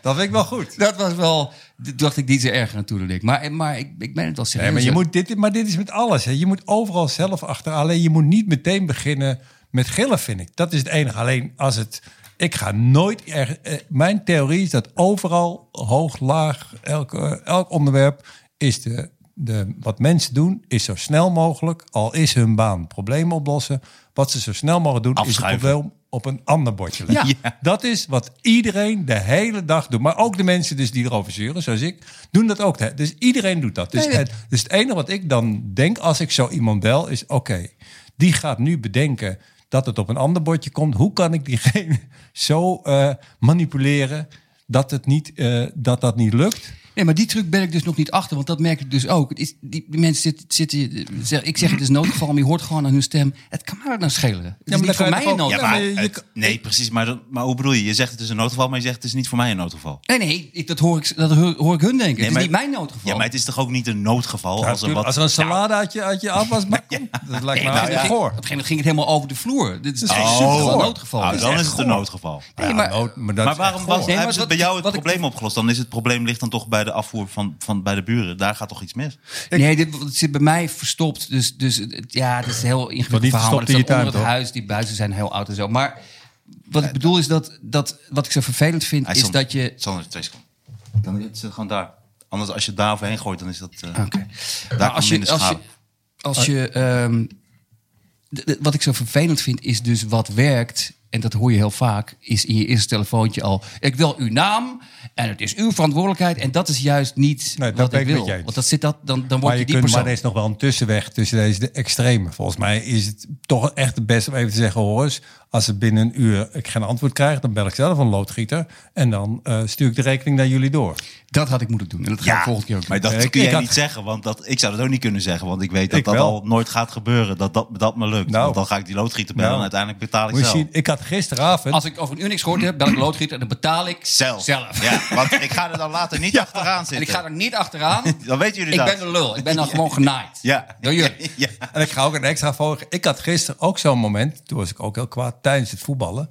Dat vind ik wel goed.
Dat was wel, d- dacht ik, niet zo erg aan toedelik. Maar, maar ik, ik ben het wel serieus.
Nee, maar, je moet dit, maar dit is met alles. Hè. Je moet overal zelf achter. Alleen je moet niet meteen beginnen met gillen, vind ik. Dat is het enige. Alleen als het. Ik ga nooit. Er, eh, mijn theorie is dat overal, hoog, laag, elk, eh, elk onderwerp. is de, de, wat mensen doen, is zo snel mogelijk. al is hun baan problemen oplossen. Wat ze zo snel mogelijk doen,
Afschuiven.
is het probleem op een ander bordje leggen.
Ja.
Dat is wat iedereen de hele dag doet. Maar ook de mensen dus die erover zeuren, zoals ik, doen dat ook. hè. Dus iedereen doet dat. Dus
Nee, dat-
het, dus het enige wat ik dan denk als ik zo iemand bel, is oké, die gaat nu bedenken dat het op een ander bordje komt. Hoe kan ik diegene zo eh, manipuleren dat, het niet, eh, dat dat niet lukt?
Nee, maar die truc ben ik dus nog niet achter, want dat merk ik dus ook. Het is, die, die mensen zitten, zitten zeg- ik zeg het is noodgeval, maar je hoort gewoon aan hun stem. Het kan mij dat nou schelen. Het is
maar
niet
dan
voor
kan je
mij
toch
een
ook-
noodgeval.
Ja, maar
Maar
je-
het- nee, precies. Maar, dat- maar hoe bedoel je? Je zegt het is een noodgeval, maar je zegt het is niet voor mij een noodgeval.
Nee, nee, ik, dat, hoor ik, dat hoor, hoor ik hun denken. het is
maar-
niet mijn noodgeval.
Ja, maar het is toch ook niet een noodgeval
Ja,
als er
Nou, natuurlijk,
wat... Nou.
Als er een salade uit je, uit je afwasbak komt, dat lijkt me
Nou,
nou,
ja, op een
goor.
gegeven moment ging het helemaal over de vloer. Dit is
is
echt
echt
super
goor.
noodgeval.
Nou,
Dit is
dan
echt
is het een
goor.
noodgeval.
Nee, maar,
Ja, nood- dat
Maar
is echt
waarom
goor.
was,
Nee, maar
hebben ze het
wat-
bij jou het
wat ik-
probleem opgelost? Dan is het probleem ligt dan toch bij de afvoer van, van bij de buren. Daar gaat toch iets mis?
nee, dit het zit bij mij verstopt. Dus, dus het- het- ja, het is een heel ingewikkeld
niet
verhaal.
verstopt
Maar het
in je
staat onder
tuin,
het
toch?
huis. Die buizen zijn heel oud en zo. Maar wat ik bedoel is dat, dat wat ik zo vervelend vind,
Hij
is
zal-
dat je...
Sander, twee seconden. Dan het zit gewoon daar. Anders als je het daar overheen gooit, dan is dat... eh,
Oké.
Daar
Maar
kan
Nou, als je,
minder
als je,
schade.
als je ehm, d- d- wat ik zo vervelend vind, is dus wat werkt. En dat hoor je heel vaak, is in je eerste telefoontje al. Ik wil uw naam en het is uw verantwoordelijkheid. En dat is juist niet
Nee, dat
wat
ben
ik
ik met
wil.
je eens.
Want dat zit dat, dan, dan word
Maar
je,
je
die
kunt
persoon.
maar er is nog wel een tussenweg tussen deze de extreme. Volgens mij is het toch echt het beste om even te zeggen... hoor eens, als het binnen een uur ik geen antwoord krijg... dan bel ik zelf een loodgieter en dan eh, stuur ik de rekening naar jullie door.
Dat had ik moeten doen. En dat ga ik volgende keer ook
maar
doen.
dat
Eh, ik-
kun
ik
jij
had-
niet zeggen, want dat, ik zou dat ook niet kunnen zeggen. Want ik weet dat
Ik
dat
wel.
al nooit gaat gebeuren, dat dat, dat me lukt.
Nou.
Want dan ga ik die loodgieter bellen
Nou.
en uiteindelijk betaal ik
Moet je
zelf.
zien, ik had gisteravond...
Als ik over een uur niks gehoord heb, bel ik een loodgieter en dan betaal ik
Zelf.
zelf.
Ja, want ik ga er dan later niet achteraan
En ik
zitten.
ga er niet achteraan.
Dan weten jullie
ik
dat.
ben de lul. Ik ben dan gewoon genaaid.
Ja.
Door jullie.
Ja.
En ik ga ook een extra volgen. Ik had gisteren ook zo'n moment, toen was ik ook heel kwaad, tijdens het voetballen,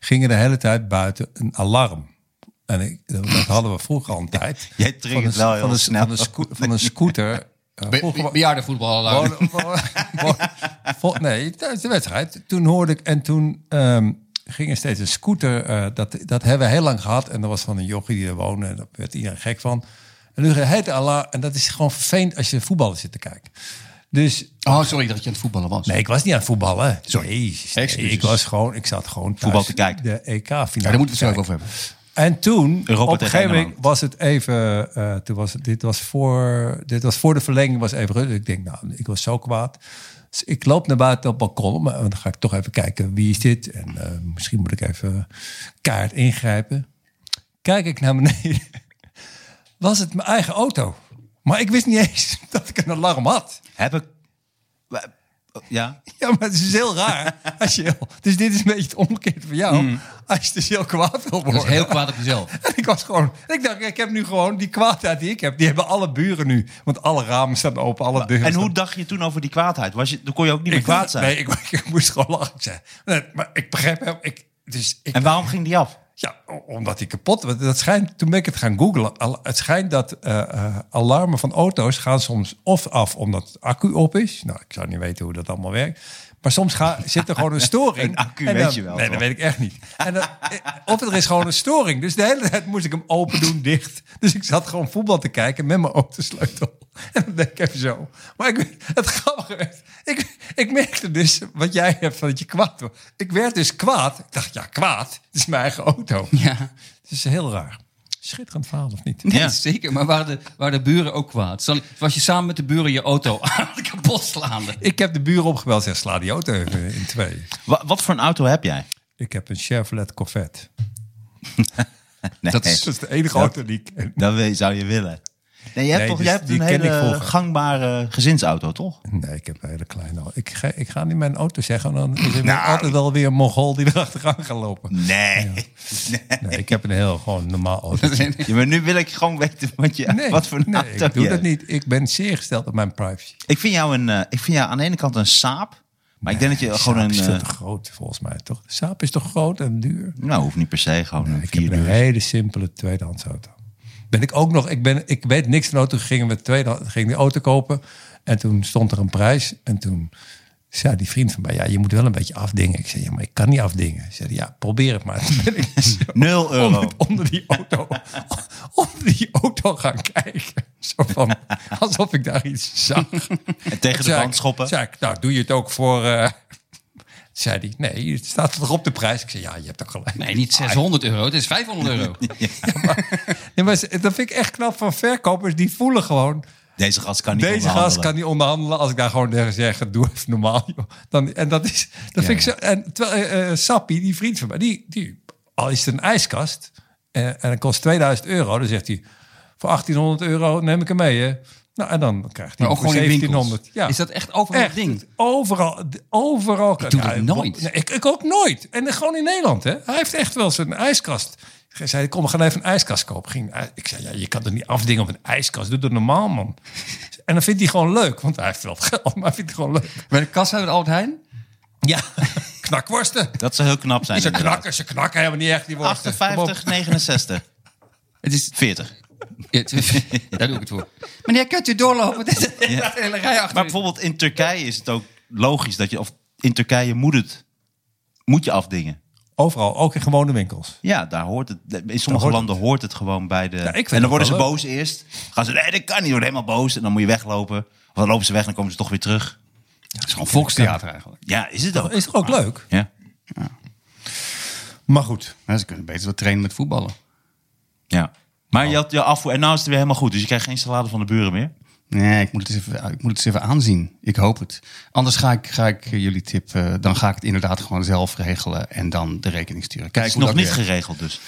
ging er de hele tijd buiten een alarm. En ik, dat hadden we vroeger al een tijd.
Jij triggert
Van een-
wel heel
van een,
snel.
Van een, sco- van een scooter. eh, vroeger wa-
Bejaardenvoetballalarm.
Gewoon- gewoon- gewoon- vol- nee, tijdens de wedstrijd. Toen hoorde ik en toen ehm, ging er steeds een scooter. eh, dat, dat hebben we heel lang gehad. En dat was van een jochie die er woonde. En daar werd iedereen gek van. En nu het Allah. En dat is gewoon vervelend als je voetballen zit te kijken. Dus
Oh, sorry dat je aan het voetballen was.
nee, ik was niet aan het voetballen. Sorry.
Excuses.
ik was gewoon, ik zat gewoon thuis
Voetbal te kijken.
De E EK-finale.
Ja, daar moeten we het zo even over hebben.
En toen, op
Europa
een
tegen
gegeven moment
Engeland.
was het even... eh, toen was, het- dit, was voor, dit was voor de verlenging, was even rustig. Ik denk, nou, ik was zo kwaad. Dus ik loop naar buiten op het balkon. Maar dan ga ik toch even kijken, wie is dit? En eh, misschien moet ik even kaart ingrijpen. Kijk ik naar beneden. Was het mijn eigen auto? Maar ik wist niet eens dat ik een alarm had.
Heb ik... Ja?
Ja, maar het is dus heel raar. Als je, heel- dus dit is een beetje het omgekeerde van jou. Als je dus heel kwaad wil worden.
Dat is heel kwaad op jezelf.
En ik was gewoon, ik dacht, ik heb nu gewoon die kwaadheid die ik heb. Die hebben alle buren nu. Want alle ramen staan open, alle deuren.
En
staan-
hoe dacht je toen over die kwaadheid? Was je, dan kon je ook niet meer
ik
kwaad zijn.
Nee, ik, ik moest gewoon lachen zijn. Nee, maar ik begrijp hem. Ik, dus ik,
En waarom ging die af?
ja, o- omdat hij kapot was. Dat schijnt, toen ben ik het gaan googlen. Al- Het schijnt dat eh, eh, alarmen van auto's gaan soms of af omdat de accu op is. Nou, ik zou niet weten hoe dat allemaal werkt. Maar soms ga, zit er gewoon een storing.
Een accu
En
weet
dan-
je wel,
Nee,
toch?
dat weet ik echt niet. En dan, eh, of er is gewoon een storing. Dus de hele tijd moest ik hem open doen, dicht. Dus ik zat gewoon voetbal te kijken met mijn autosleutel. En dan denk ik even zo. Maar ik, het grappige werd, ik, ik merkte dus wat jij hebt van dat je kwaad wordt. Ik werd dus kwaad. Ik dacht, ja, kwaad. Het is mijn eigen auto.
Ja.
Het is heel raar. Schitterend verhaal, of niet?
Ja.
ja. Zeker, maar waren de, waren de buren ook kwaad? Zal ik- was je samen met de buren je auto aan de kapot slaande?
Ik heb de buren opgebeld en sla die auto even in twee.
Wa- wat voor een auto heb jij?
Ik heb een Chevrolet Corvette.
Nee,
Dat is-
Dat is de enige auto die ik ken.
dat wil- zou je willen. Nee, jij hebt,
Nee,
toch,
dus
jij hebt
die
een
ken ik
hele
vroeger.
gangbare gezinsauto, toch?
Nee, ik heb een hele kleine auto. Ik ga, ik ga niet mijn auto zeggen, want dan is er
Nou.
weer altijd wel weer een Mongool die erachteraan gaat lopen.
Nee.
Nee, ik heb een heel gewoon normaal auto.
Ja, maar nu wil ik gewoon weten wat, je,
Nee,
wat voor een
nee,
auto
ik doe
je
dat
hebt.
niet. Ik ben zeer gesteld op mijn privacy.
Ik vind jou, een, eh, ik vind jou aan de ene kant een saap. Maar ik denk dat je gewoon
Saab
een...
is
eh,
veel te groot, volgens mij, toch? De Saab is toch groot en duur?
nou, hoeft niet per se. Gewoon een
Ik heb
vierdeur.
een hele simpele tweedehands auto. Ben ik ook nog, ik, ben, ik weet niks van auto. Gingen we tweedehand- gingen die auto kopen. En toen stond er een prijs. En toen zei die vriend van mij, ja, je moet wel een beetje afdingen. Ik zei, ja, maar ik kan niet afdingen. Hij zei, ja, probeer het maar. Toen ben ik zo
Nul euro.
Onder, onder die auto, onder die auto gaan kijken. Zo van, alsof ik daar iets zag.
En tegen de
Zei
wand
ik-
schoppen.
Zei ik, nou, doe je het ook voor... eh, zei hij, nee, het staat toch op de prijs? Ik zei, ja, je hebt ook gelijk.
Nee, niet 600 euro, het is 500 euro.
Nee, maar ze- dat vind ik echt knap van verkopers. Die voelen gewoon,
Deze gast kan niet
deze gast
onderhandelen.
kan niet onderhandelen. Als ik daar gewoon tegen zeg, doe even normaal. Joh. Dan, en dat is, dat vind ik zo. En terwijl eh, eh, Sappie, die vriend van mij, die, die al is het een ijskast eh, en het kost 2000 euro, dan zegt hij, voor 1800 euro neem ik hem mee, hè. Nou, en dan krijgt hij
Maar ook
hem
gewoon
voor
in winkels.
1700. Ja.
Is dat echt overal een
Echt,
ding?
Overal, d- overal. Ik
doe dat nooit.
Nee, ik, ik ook nooit. En dan gewoon in Nederland, hè. Hij heeft echt wel zijn ijskast. Hij zei, kom, we gaan even een ijskast kopen. Ging, ij- ik zei, ja, je kan er niet afdingen op een ijskast. Doe dat normaal, man. En dan vindt hij gewoon leuk, want hij heeft wel geld, maar hij vindt het gewoon leuk.
Bij de kassa bij de Albert Heijn?
Ja, knakworsten.
Dat zou heel knap zijn.
Ze
inderdaad.
knakken, ze knakken helemaal niet echt die worsten. Kom op.
58, 69.
Het is,
40.
ja, het is- daar doe ik het voor. Meneer, kunt u doorlopen? Dit is
Ja.
een hele rij achter
Maar
u.
bijvoorbeeld in Turkije is het ook logisch dat je... Of in Turkije moet het... Moet je afdingen.
Overal, ook in gewone winkels.
Ja, daar hoort het. In sommige
hoort
landen hoort het gewoon bij de.
ik vind
en dan
het
worden ze
wel leuk.
boos eerst. Gaan ze, nee, dat kan niet. Worden helemaal boos. En dan moet je weglopen. Of dan lopen ze weg en dan komen ze toch weer terug.
Het is gewoon volkstheater eigenlijk.
Ja, is het ook.
Is toch ook leuk?
Ja.
Ah. Maar goed.
Maar Nou, ze kunnen beter wat trainen met voetballen.
ja. Maar
Oh.
je had je afvoer. En nou is het weer helemaal goed. Dus je krijgt geen salade van de buren meer.
Nee, ik moet, het eens even, eh, ik moet het eens even aanzien. Ik hoop het. Anders ga ik, ga ik eh, jullie tip, eh, dan ga ik het inderdaad gewoon zelf regelen en dan de rekening sturen. Kijk,
Het is
hoe
nog
dat
niet
werkt.
geregeld dus.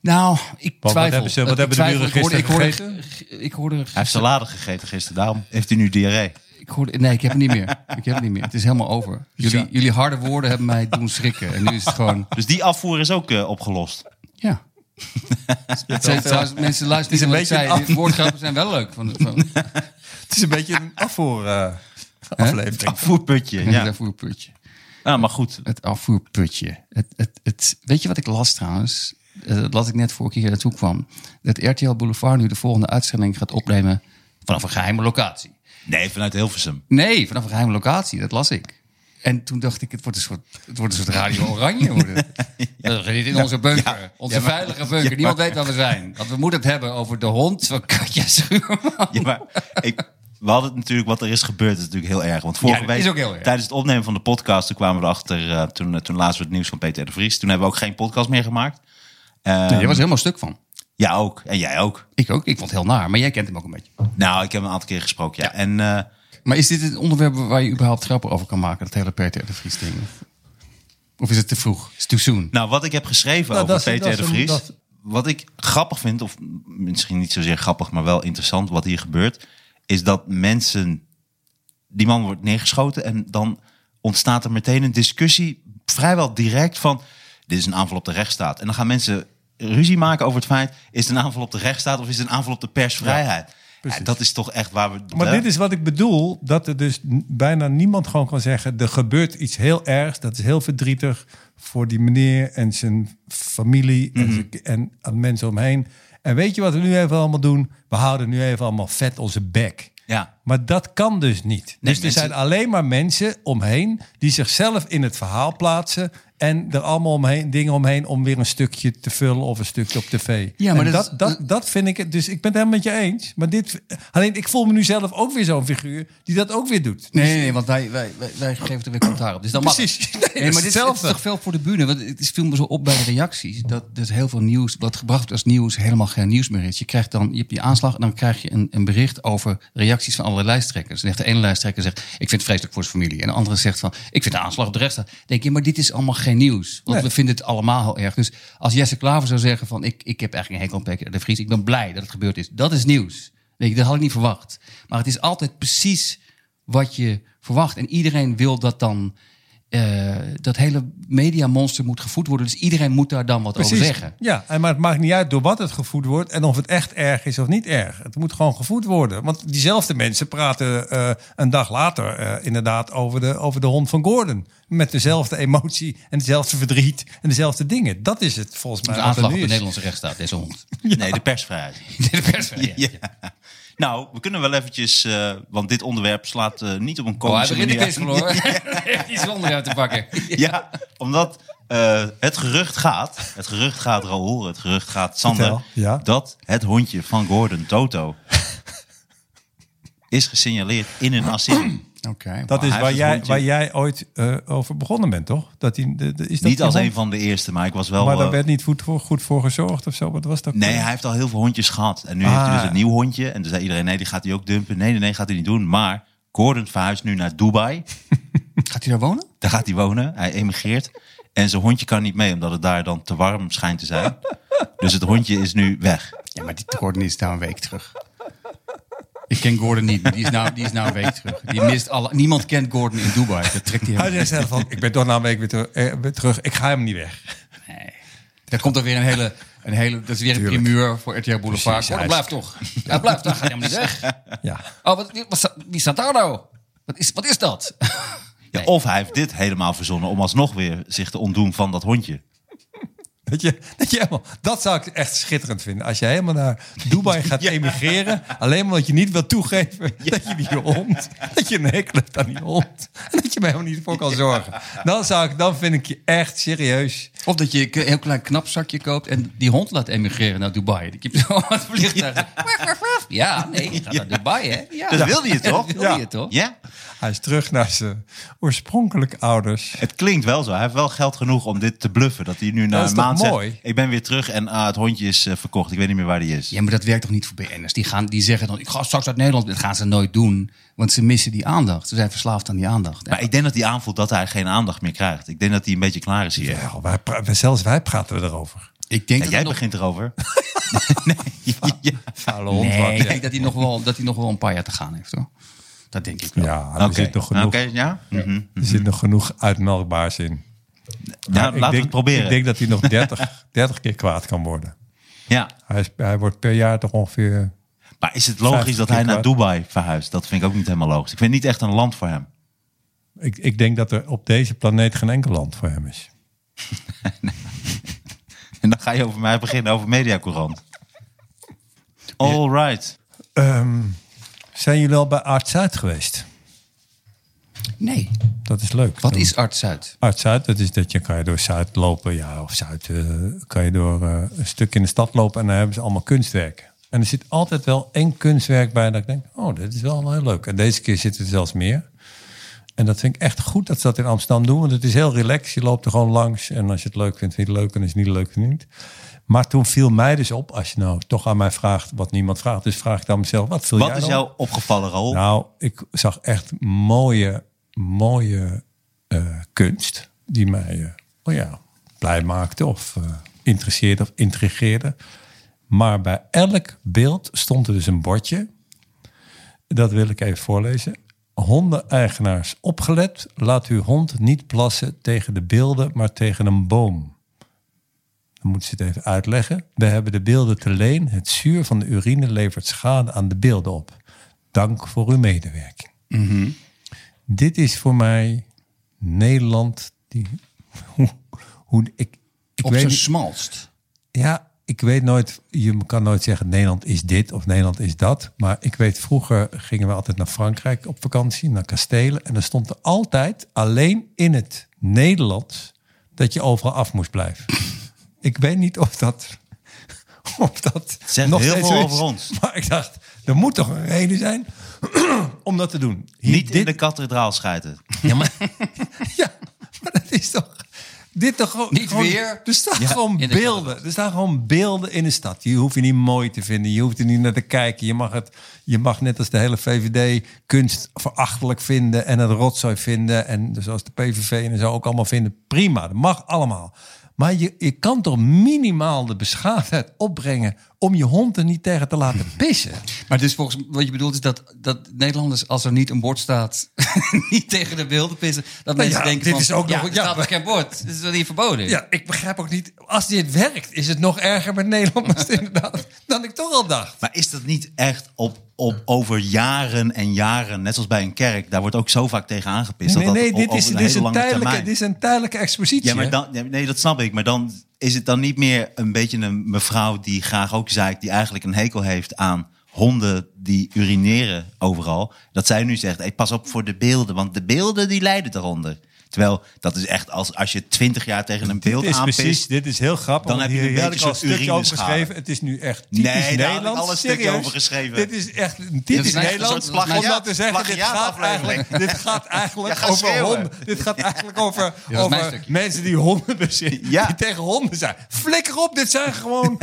Nou, ik
wat
twijfel. Eh,
hebben ze- wat
Ik
hebben de
twijfel.
buren
Ik hoorde-
gisteren
ik hoorde- Ik hoorde,
Hij heeft salade gegeten gisteren, daarom heeft hij nu diarree.
ik hoorde, nee, ik heb het niet meer. Ik heb het niet meer. Het is helemaal over. Jullie,
Ja.
jullie harde woorden hebben mij doen schrikken. En nu is het gewoon,
Dus die afvoer is ook eh, opgelost.
ja. Het zijn, trouwens, mensen luisteren
Het
niet
is
naar
een
wat
beetje
ik zei. Die woordgrappen zijn wel leuk. Van, van,
Het is een beetje een afvoer eh, aflevering.
Afvoerputje,
Het
ja.
afvoerputje.
Nou, maar goed.
Het afvoerputje. Het, het, het, weet je wat ik las trouwens? Eh, Dat las ik net voor ik hier naartoe kwam. Dat RTL Boulevard nu de volgende uitzending gaat opnemen vanaf een geheime locatie.
Nee, vanuit Hilversum.
Nee, vanaf een geheime locatie. Dat las ik. En toen dacht ik, het wordt een soort, het wordt een soort Radio Oranje worden. Dat zit in onze bunker. onze veilige bunker. Niemand weet waar we zijn. Want we moeten het hebben over de hond van Katja Schuurman.
Ja, maar ik, we hadden het natuurlijk, wat er is gebeurd, is natuurlijk heel erg. Want vorige
Ja, dat
week,
is ook heel erg.
tijdens het opnemen van de podcast, toen kwamen we erachter, eh, toen, eh, toen lazen we het nieuws van Peter R. de Vries. Toen hebben we ook geen podcast meer gemaakt. Eh,
Jij was helemaal stuk van.
Ja, ook. En jij ook.
Ik ook. Ik vond het heel naar. Maar jij kent hem ook een beetje.
Nou, ik heb hem een aantal keer gesproken, ja. En eh,
Maar is dit het onderwerp waar je überhaupt grappen over kan maken? Dat hele Peter R. de Vries ding? Of is het te vroeg? Is het too soon?
nou, wat ik heb geschreven
Nou,
over
dat is-
Peter
dat
de
is een-
Vries,
dat-
wat ik grappig vind, of misschien niet zozeer grappig, maar wel interessant wat hier gebeurt, is dat mensen, die man wordt neergeschoten en dan ontstaat er meteen een discussie, vrijwel direct van, dit is een aanval op de rechtsstaat. En dan gaan mensen ruzie maken over het feit, is het een aanval op de rechtsstaat of is het een aanval op de persvrijheid? Ja, dat is toch echt waar we...
Maar dit is wat ik bedoel, dat er dus n- bijna niemand gewoon kan zeggen... er gebeurt iets heel ergs, dat is heel verdrietig voor die meneer en zijn familie en
Mhm.
zijn ki- en aan mensen omheen. En weet je wat we nu even allemaal doen? We houden nu even allemaal vet onze bek.
Ja.
Maar dat kan dus niet. dus er
mensen-
zijn alleen maar mensen omheen die zichzelf in het verhaal plaatsen... en er allemaal omheen, dingen omheen om weer een stukje te vullen of een stukje op tv.
Ja, maar
En
dat
dat,
is-
dat, dat, vind ik het. Dus ik ben het helemaal met je eens. Maar dit, alleen ik voel me nu zelf ook weer zo'n figuur die dat ook weer doet.
Nee, nee, nee, want wij, wij, wij, wij geven er weer commentaar op. Dus dan mag het.
Precies. Nee, dat is
maar dit is, dit is
hetzelfde.
toch veel voor de buren. Want het is- viel me zo op bij de reacties. Dat dus heel veel nieuws, wat gebracht wordt als nieuws, helemaal geen nieuws meer is. Je krijgt dan, je hebt die aanslag en dan krijg je een, een bericht over reacties van allerlei lijsttrekkers. En echt de ene lijsttrekker zegt, ik vind het vreselijk voor zijn familie. En de andere zegt van, ik vind de aanslag op de rechtsstaat. Dan denk je, maar dit is allemaal geen nieuws. Want
Nee.
we vinden het allemaal heel erg. Dus als Jesse Klaver zou zeggen van, ik, ik heb eigenlijk een hekel aan Peter de Vries. Ik ben blij dat het gebeurd is. Dat is nieuws. Denk je, dat had ik niet verwacht. Maar het is altijd precies wat je verwacht. En iedereen wil dat dan. eh, dat hele mediamonster moet gevoed worden. Dus iedereen moet daar dan wat over zeggen.
Ja, en maar het maakt niet uit door wat het gevoed wordt en of het echt erg is of niet erg. Het moet gewoon gevoed worden. Want diezelfde mensen praten eh, een dag later eh, inderdaad over de, over de hond van Gordon. Met dezelfde emotie en dezelfde verdriet en dezelfde dingen. Dat is het volgens mij.
De
wat er
aanslag op
nu
de
is.
Nederlandse rechtsstaat, deze hond.
Nee, de persvrijheid.
de pers. Ja.
Ja. Nou, we kunnen wel eventjes, eh, want dit onderwerp slaat eh, niet op een
Oh, hij
komische
begint de
manier.
quiz verloren. Die is onder uit te pakken.
ja, omdat eh, het gerucht gaat, het gerucht gaat Raoul, het gerucht gaat Sander,
Vertel, ja.
dat het hondje van Gordon Toto is gesignaleerd in een asiel.
Oké.
Dat
wauw.
is
hij
waar
heeft het
jij,
hondje.
waar jij ooit eh, over begonnen bent, toch? Dat die, de, de- is dat
Niet
die
als
hond?
een van de eerste, maar ik was wel.
Maar daar
eh,
werd niet goed voor, goed voor gezorgd of zo. Wat was dat?
Nee, hij heeft al heel veel hondjes gehad. En nu heeft hij
Ah.
dus een nieuw hondje. En toen zei iedereen, nee, die gaat hij ook dumpen. Nee, nee, nee, gaat hij niet doen. Maar Gordon verhuist nu naar Dubai.
Gaat hij daar wonen?
Daar gaat hij wonen. Hij emigreert. En zijn hondje kan niet mee, omdat het daar dan te warm schijnt te zijn. Dus het hondje is nu weg.
Ja, maar die Gordon is nou een week terug. Ik ken Gordon niet, maar die is nou, die is nou een week terug. Die mist alle, niemand kent Gordon in Dubai. Dat trekt hij
Hij zei
helemaal
zelf van, ik ben toch na een week weer, ter- eh, weer terug. Ik ga hem niet weg.
Daar komt er weer een hele, een hele dat is weer een primeur voor RTL Boulevard. Oh, dat blijft toch. Hij blijft, daar gaat helemaal niet weg.
Ja.
Oh, wat, wat sta- wie staat daar nou? Wat is, wat is dat?
Ja, Of hij heeft dit helemaal verzonnen om alsnog weer zich te ontdoen van dat hondje.
Dat, je, dat, je helemaal, dat zou ik echt schitterend vinden. Als je helemaal naar Dubai gaat emigreren. Alleen omdat je niet wil toegeven dat je die hond... dat je een hekel hebt aan die hond. En dat je me helemaal niet voor kan zorgen. Dan, zou ik, dan vind ik je echt serieus.
Of dat je een heel klein knap zakje koopt en die hond laat emigreren naar Dubai. Die kiept zo aan het vliegtuig. Waf, waf, waf. Ja, nee, die gaat naar Dubai, hè? Ja.
Dat wilde je toch?
Dat wil
Ja.
je toch?
Ja,
Hij is terug naar zijn oorspronkelijke ouders.
het klinkt wel zo. Hij heeft wel geld genoeg om dit te bluffen. Dat hij nu na
Dat is
een
toch
maand
mooi?
zegt, ik ben weer terug en ah, het hondje is eh, verkocht. Ik weet niet meer waar hij is.
Ja, maar dat werkt toch niet voor BN'ers? Die, gaan, die zeggen dan, ik ga straks uit Nederland. Dat gaan ze nooit doen, want ze missen die aandacht. Ze zijn verslaafd aan die aandacht.
Maar ik denk dat hij aanvoelt dat hij geen aandacht meer krijgt. Ik denk dat hij een beetje klaar is hier.
Ja, wij pra- zelfs wij praten erover.
Ik denk
Ja,
dat
jij
het nog-
begint erover. nee, ja.
Vuile hond,
Nee,
wat,
ik
ja.
denk dat hij, nog wel, dat hij nog wel een paar jaar te gaan heeft hoor. Dat denk ik wel.
Ja, Ah, er
Oké.
zit nog genoeg,
Oké, ja? Mhm.
er zit nog genoeg uitmelkbaars in.
Nou, laten
Ik denk-
we het proberen.
Ik denk dat hij nog 30, 30 keer kwaad kan worden.
ja.
Hij, is, hij wordt per jaar toch ongeveer...
Maar is het logisch dat hij naar
Vijftig keer
Dubai verhuist? Dat vind ik ook niet helemaal logisch. Ik vind het niet echt een land voor hem.
Ik, ik denk dat er op deze planeet geen enkel land voor hem is.
En dan ga je over mij beginnen over Mediacourant. All right.
Ehm, zijn jullie al bij Arts Zuid geweest?
Nee.
Dat is leuk.
Wat
Dan-
is Arts Zuid?
Arts Oh, Zuid, dat is dat je kan je door Zuid lopen, ja, of Zuid eh, kan je door eh, een stuk in de stad lopen en dan hebben ze allemaal kunstwerken. En er zit altijd wel één kunstwerk bij dat ik denk, oh, dit is wel heel leuk. En deze keer zitten er zelfs meer. En dat vind ik echt goed dat ze dat in Amsterdam doen, want het is heel relaxed. Je loopt er gewoon langs en als je het leuk vindt, vind je het leuk en als je het niet leuk vindt, niet. Maar toen viel mij dus op, als je nou toch aan mij vraagt wat niemand vraagt, dus vraag ik dan mezelf, wat viel
Wat
jij
is
dan?
jou opgevallen, Raoul?
Nou, ik zag echt mooie, mooie eh, kunst die mij eh, oh ja, blij maakte of eh, interesseerde of intrigeerde. Maar bij elk beeld stond er dus een bordje. Dat wil ik even voorlezen. Hondeneigenaars, opgelet, laat uw hond niet plassen tegen de beelden, maar tegen een boom. Dan moeten ze het even uitleggen. We hebben de beelden te leen. Het zuur van de urine levert schade aan de beelden op. Dank voor uw medewerking.
Mhm.
Dit is voor mij Nederland. Die, hoe, hoe, ik, ik
Op
weet
zijn
niet-
smalst.
ja, ik weet nooit, je kan nooit zeggen Nederland is dit of Nederland is dat. Maar ik weet, vroeger gingen we altijd naar Frankrijk op vakantie, naar kastelen. En dan stond er altijd alleen in het Nederlands dat je overal af moest blijven. ik weet niet of dat. Of dat
Zegt
nog
heel
steeds
veel
zo is.
over ons.
Maar ik dacht, er moet toch een reden zijn om dat te doen. Hier,
niet in
dit-
de kathedraal schijten.
Ja, maar, ja, maar dat is toch... Dit toch gewoon,
Niet
gewoon-
weer?
Er staan
Ja,
gewoon
in de
beelden. Er staan gewoon beelden in de stad. Je hoeft je niet mooi te vinden. Je hoeft er niet naar te kijken. Je mag, het, je mag net als de hele VVD kunst verachtelijk vinden. En het rotzooi vinden. En dus zoals de PVV en zo ook allemaal vinden. Prima, dat mag allemaal. Maar je, je kan toch minimaal de beschaafdheid opbrengen... om je hond er niet tegen te laten pissen?
Maar dus
Volgens wat je bedoelt is dat, dat Nederlanders, als er niet een bord staat, niet tegen de beelden pissen. Dat mensen
Nou ja,
denken
dit
van,
is ook
ja,
nog-
er
ja,
staat
maar-
toch geen bord. Het is wel niet verboden.
Ja, ik begrijp ook niet. Als dit werkt, is het nog erger met Nederlanders inderdaad dan ik toch al dacht.
Maar is dat niet echt op, op over jaren en jaren, net zoals bij een kerk, daar wordt ook zo vaak tegen aangepist.
Nee,
dat
nee,
dat
dit
o-
is,
over
dit, is
hele
een
lange
tijdelijke,
termijn-
dit is een tijdelijke expositie.
Ja, maar
hè?
dan, ja, nee, dat snap ik. Maar dan is het dan niet meer een beetje een mevrouw die graag ook zeikt, die eigenlijk een hekel heeft aan honden die urineren overal. Dat zij nu zegt, hey, pas op voor de beelden, want de beelden die lijden eronder. Terwijl dat is echt als, als je twintig jaar tegen een beeld
dit is
aanpist.
precies, dit is heel grappig.
Dan
want
heb je
hier
een
had ik
beetje
al
een soort
stukje over
urineschade.
geschreven. Het is nu echt
Nee,
typisch
daar had ik
Nederlands.
al een stukje
Serieus.
over geschreven.
Dit is echt een
is
typisch
echt een
Nederlands.
soort
Om
plagiaat-
dat te zeggen, dit gaat,
plagiaataflevering.
eigenlijk, dit gaat eigenlijk
Ja, ga
over
schreeuwen.
honden. Dit gaat eigenlijk over,
is mijn
over
stukje.
mensen die honden bezitten.
Ja.
Die tegen honden zijn. Flikker op, dit zijn gewoon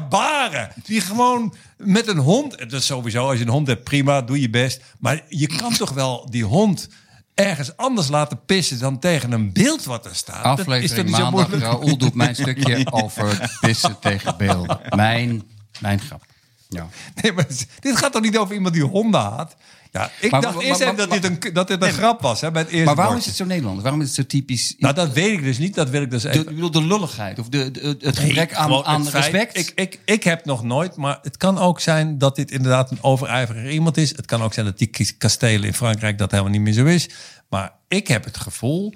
barbaren. Die gewoon met een hond... Dat is sowieso, als je een hond hebt, prima, doe je best. Maar je kan toch wel die hond... Ergens anders laten pissen dan tegen een beeld wat er staat. Dat is toch
Aflevering
niet zo
maandag.
moeilijk?
Raoul doet mijn stukje over pissen tegen beelden. Mijn, mijn grap. Ja.
Nee, maar het- dit gaat toch niet over iemand die honden haat? Ja, ik
Maar-
dacht
maar-
eerst
maar-
even dat
maar-
dit een, dat dit een grap was hè, bij het eerste
Maar waarom is
bordje.
het zo Nederlands? Waarom is het zo typisch?
Nou, dat weet ik dus niet. Dat wil ik dus
de,
even...
ik bedoel, de lulligheid of de, de- het gebrek
Nee,
aan,
gewoon
aan
het feit-
respect.
Ik, ik, ik heb nog nooit, maar het kan ook zijn dat dit inderdaad een overijverig iemand is. Het kan ook zijn dat die k- kastelen in Frankrijk dat helemaal niet meer zo is. Maar ik heb het gevoel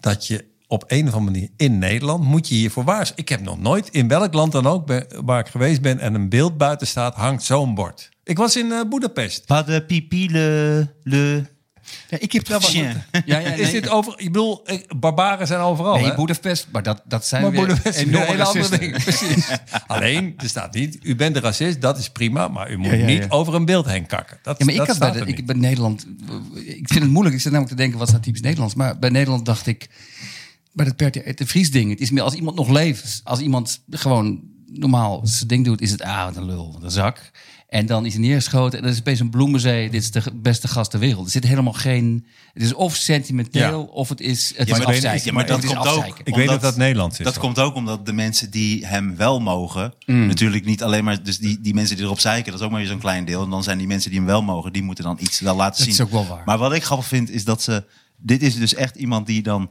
dat je op een of andere manier in Nederland moet je hiervoor waarschuwen. Ik heb nog nooit in welk land dan ook ben- waar ik geweest ben en een beeld buiten staat hangt zo'n bord. Ik was in eh, Boedapest.
Pas de pipi le, le
Ja, ik heb wel wat.
chien.
ja, ja,
Is
nee.
dit over? Ik bedoel, eh, barbaren zijn overal.
Nee,
hè?
Boedapest, maar dat, dat zijn
Maar
weer
Boedapest is weer
enorme
een hele andere
racisten.
ding. Precies. Alleen, er staat niet, u bent een racist, dat is prima, maar u moet
ja,
niet
ja.
over een beeld heen kakken. Dat,
Ja, maar ik,
dat
had bij,
staat
de,
er
ik
niet.
bij Nederland... Ik vind het moeilijk. Ik zit namelijk te denken, wat is nou typisch Nederlands? Maar bij Nederland dacht ik... Bij dat Bert de Vries ding. Het is meer als iemand nog leeft. Als iemand gewoon normaal zijn ding doet, is het ah, wat een lul, wat een zak. En dan is hij neergeschoten en dan is opeens een bloemenzee. Dit is de beste gast ter wereld. Er zit helemaal geen... Het is of sentimenteel,
Ja.
of het is... Het
Ja,
is
maar,
ik weet-
afzeiken.
ja, maar dat
Het is
komt ook.
afzeiken.
Ik weet dat dat Nederlands is,
Dat
hoor.
komt ook omdat de mensen die hem wel mogen, natuurlijk niet alleen maar. Dus die, die mensen die erop zeiken, dat is ook maar weer zo'n klein deel. En dan zijn die mensen die hem wel mogen, die moeten dan iets wel laten
is
zien.
ook wel waar.
Maar wat ik grappig vind, is dat ze. Dit is dus echt iemand die dan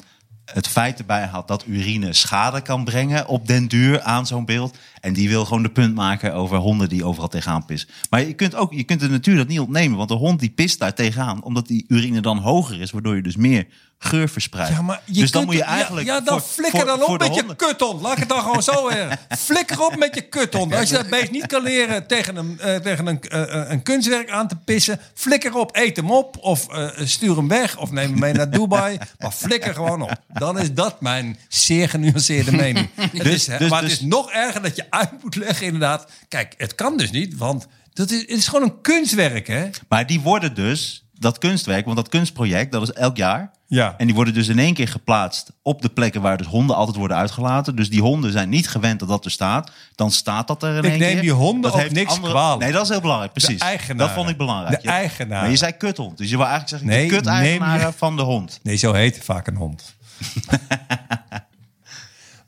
het feit erbij haalt dat urine schade kan brengen op den duur aan zo'n beeld. En die wil gewoon de punt maken over honden die overal tegenaan pissen. Maar je kunt, ook, je kunt de natuur dat niet ontnemen, want de hond die pist daar tegenaan, omdat die urine dan hoger is, waardoor je dus meer geur verspreidt.
Ja, maar je
dus dan
kunt-
moet je
ja,
eigenlijk.
Ja, dan
voor-
flikker
voor-
dan op
voor de
met je
honden-
kuton. Laat ik het dan gewoon zo zeggen. Flikker op met je kuton. Als je dat beest niet kan leren tegen een, eh, tegen een, eh, eh, een kunstwerk aan te pissen, flikker op, eet hem op. Of eh, stuur hem weg. Of neem hem mee naar Dubai. Maar flikker gewoon op. Dan is dat mijn zeer genuanceerde mening. Het
Dus-
is, hè,
dus-
maar het
dus-
is nog erger dat je uit moet leggen, inderdaad. Kijk, het kan dus niet, want. Dat is, het is gewoon een kunstwerk, hè?
Maar die worden dus, dat kunstwerk, want dat kunstproject, dat is elk jaar.
Ja.
En die worden dus in één keer geplaatst op de plekken waar dus honden altijd worden uitgelaten. Dus die honden zijn niet gewend dat dat er staat. Dan staat dat er in één keer.
neem die honden
dat
ook
heeft
niks kwalijk.
Nee, dat is heel belangrijk, precies.
eigenaren.
Dat vond ik belangrijk.
De
Ja.
eigenaren.
Maar je zei kuthond, dus je wil eigenlijk zeggen
Nee,
de kut-eigenaren
neem
van de hond.
Nee, zo heet vaak een hond.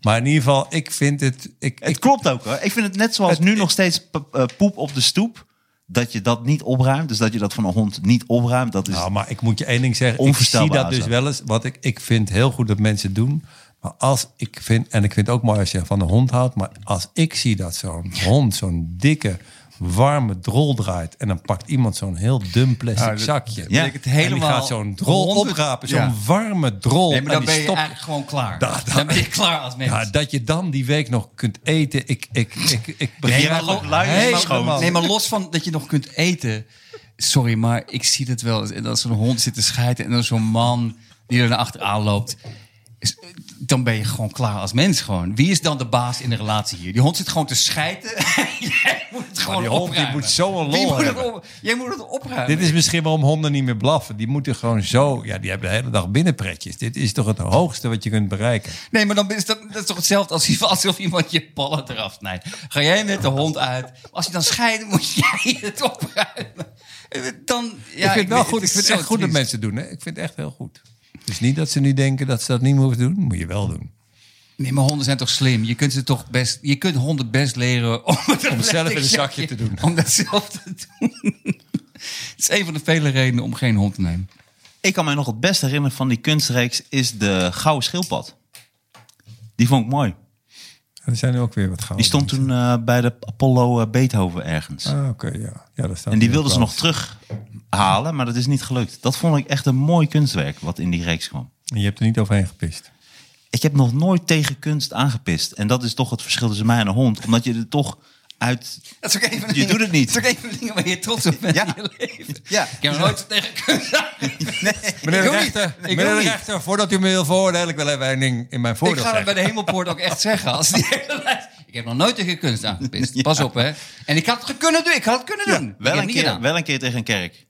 maar in ieder geval, ik vind het. Ik,
Het
ik,
klopt ook hoor. Ik vind het net zoals
Het-
nu nog steeds p- eh, poep op de stoep. Dat je dat niet opruimt. Dus dat je dat van een hond niet opruimt. Dat is
nou, maar ik moet je één ding zeggen. Ik zie
Onvoorstelbaar,
dat dus
zo.
wel eens. Wat ik, ik vind heel goed dat mensen doen. Maar als ik vind, en ik vind het ook mooi als je van een hond houdt. Maar als ik zie dat zo'n hond zo'n dikke, warme drol draait. En dan pakt iemand zo'n heel dun plastic
Ah, dat-
zakje.
Ja.
En die gaat zo'n drol
honderd-
oprapen. Zo'n
Ja.
warme drol.
Nee, maar
en
dan
die
ben je
stopt-
eigenlijk gewoon klaar.
Da- da-
dan ben je klaar als mens.
Ja, dat je dan die week nog kunt eten. Ik, ik, ik, ik
je
begrijp
hebt
het
ook luiers
helemaal.
schoon.
Nee, maar los van dat je nog kunt eten. Sorry, maar ik zie dat wel. En als zo'n hond zit te schijten en dan zo'n man die er naar achteraan loopt. is- Dan ben je gewoon klaar als mens gewoon. Wie is dan de baas in de relatie hier? Die hond zit gewoon te schijten. Jij moet het gewoon
die hond, die
opruimen.
moet zo'n
Wie
lol
moet het
hebben.
op- Jij moet het opruimen.
Dit is misschien waarom honden niet meer blaffen. Die moeten gewoon zo. Ja, die hebben de hele dag binnenpretjes. Dit is toch het hoogste wat je kunt bereiken.
Nee, maar dan is dat, dat is toch hetzelfde als alsof iemand je ballen eraf snijdt. Ga jij met de hond uit. Als je dan scheidt, moet jij het opruimen. Dan, ja,
ik vind het wel goed.
is
Ik vind
zo
het echt goed dat
triest.
mensen het doen. Hè? Ik vind het echt heel goed. Dus niet dat ze nu denken dat ze dat niet meer hoeven te doen. Moet je wel doen.
Nee, maar honden zijn toch slim? Je kunt, ze toch best, je kunt honden best leren om, het
Om zelf in een zakje te doen.
Om dat zelf te doen. Het is een van de vele redenen om geen hond te nemen.
Ik kan mij nog het best herinneren van die kunstreeks is de Gouden Schildpad. Die vond ik mooi.
Er zijn er ook weer wat
Die
gouden.
stond toen eh, bij de Apollo eh, Beethoven ergens.
Ah, oké, ja. ja daar staat
en die
ook
wilden ze
wel
nog terughalen, maar dat is niet gelukt. Dat vond ik echt een mooi kunstwerk wat in die reeks kwam.
eens. En je hebt er niet overheen gepist.
Ik heb nog nooit tegen kunst aangepist. En dat is toch het verschil tussen mij en een hond. Omdat je er toch uit...
Dat is ook een van de
Je
dingen-
doet het niet.
Dat is ook een van de dingen waar je trots op bent
Ja.
in je leven.
Ja.
Ik heb nog nooit tegen kunnen zeggen.
Meneer
Ik
de
wil niet.
rechter,
Ik
meneer
wil
de
niet.
rechter, voordat u me wil veroordelen, ik wil even één ding in mijn voordeel
Ik ga
zeggen.
dat bij de hemelpoort ook echt zeggen. Als die hele lijst- Ik heb nog nooit tegen kunst aangepist. Pas op, hè. En ik had het ge- kunnen doen. Ik had het kunnen doen. Ik heb
Wel
het
een,
niet
keer,
gedaan.
wel een keer tegen een kerk.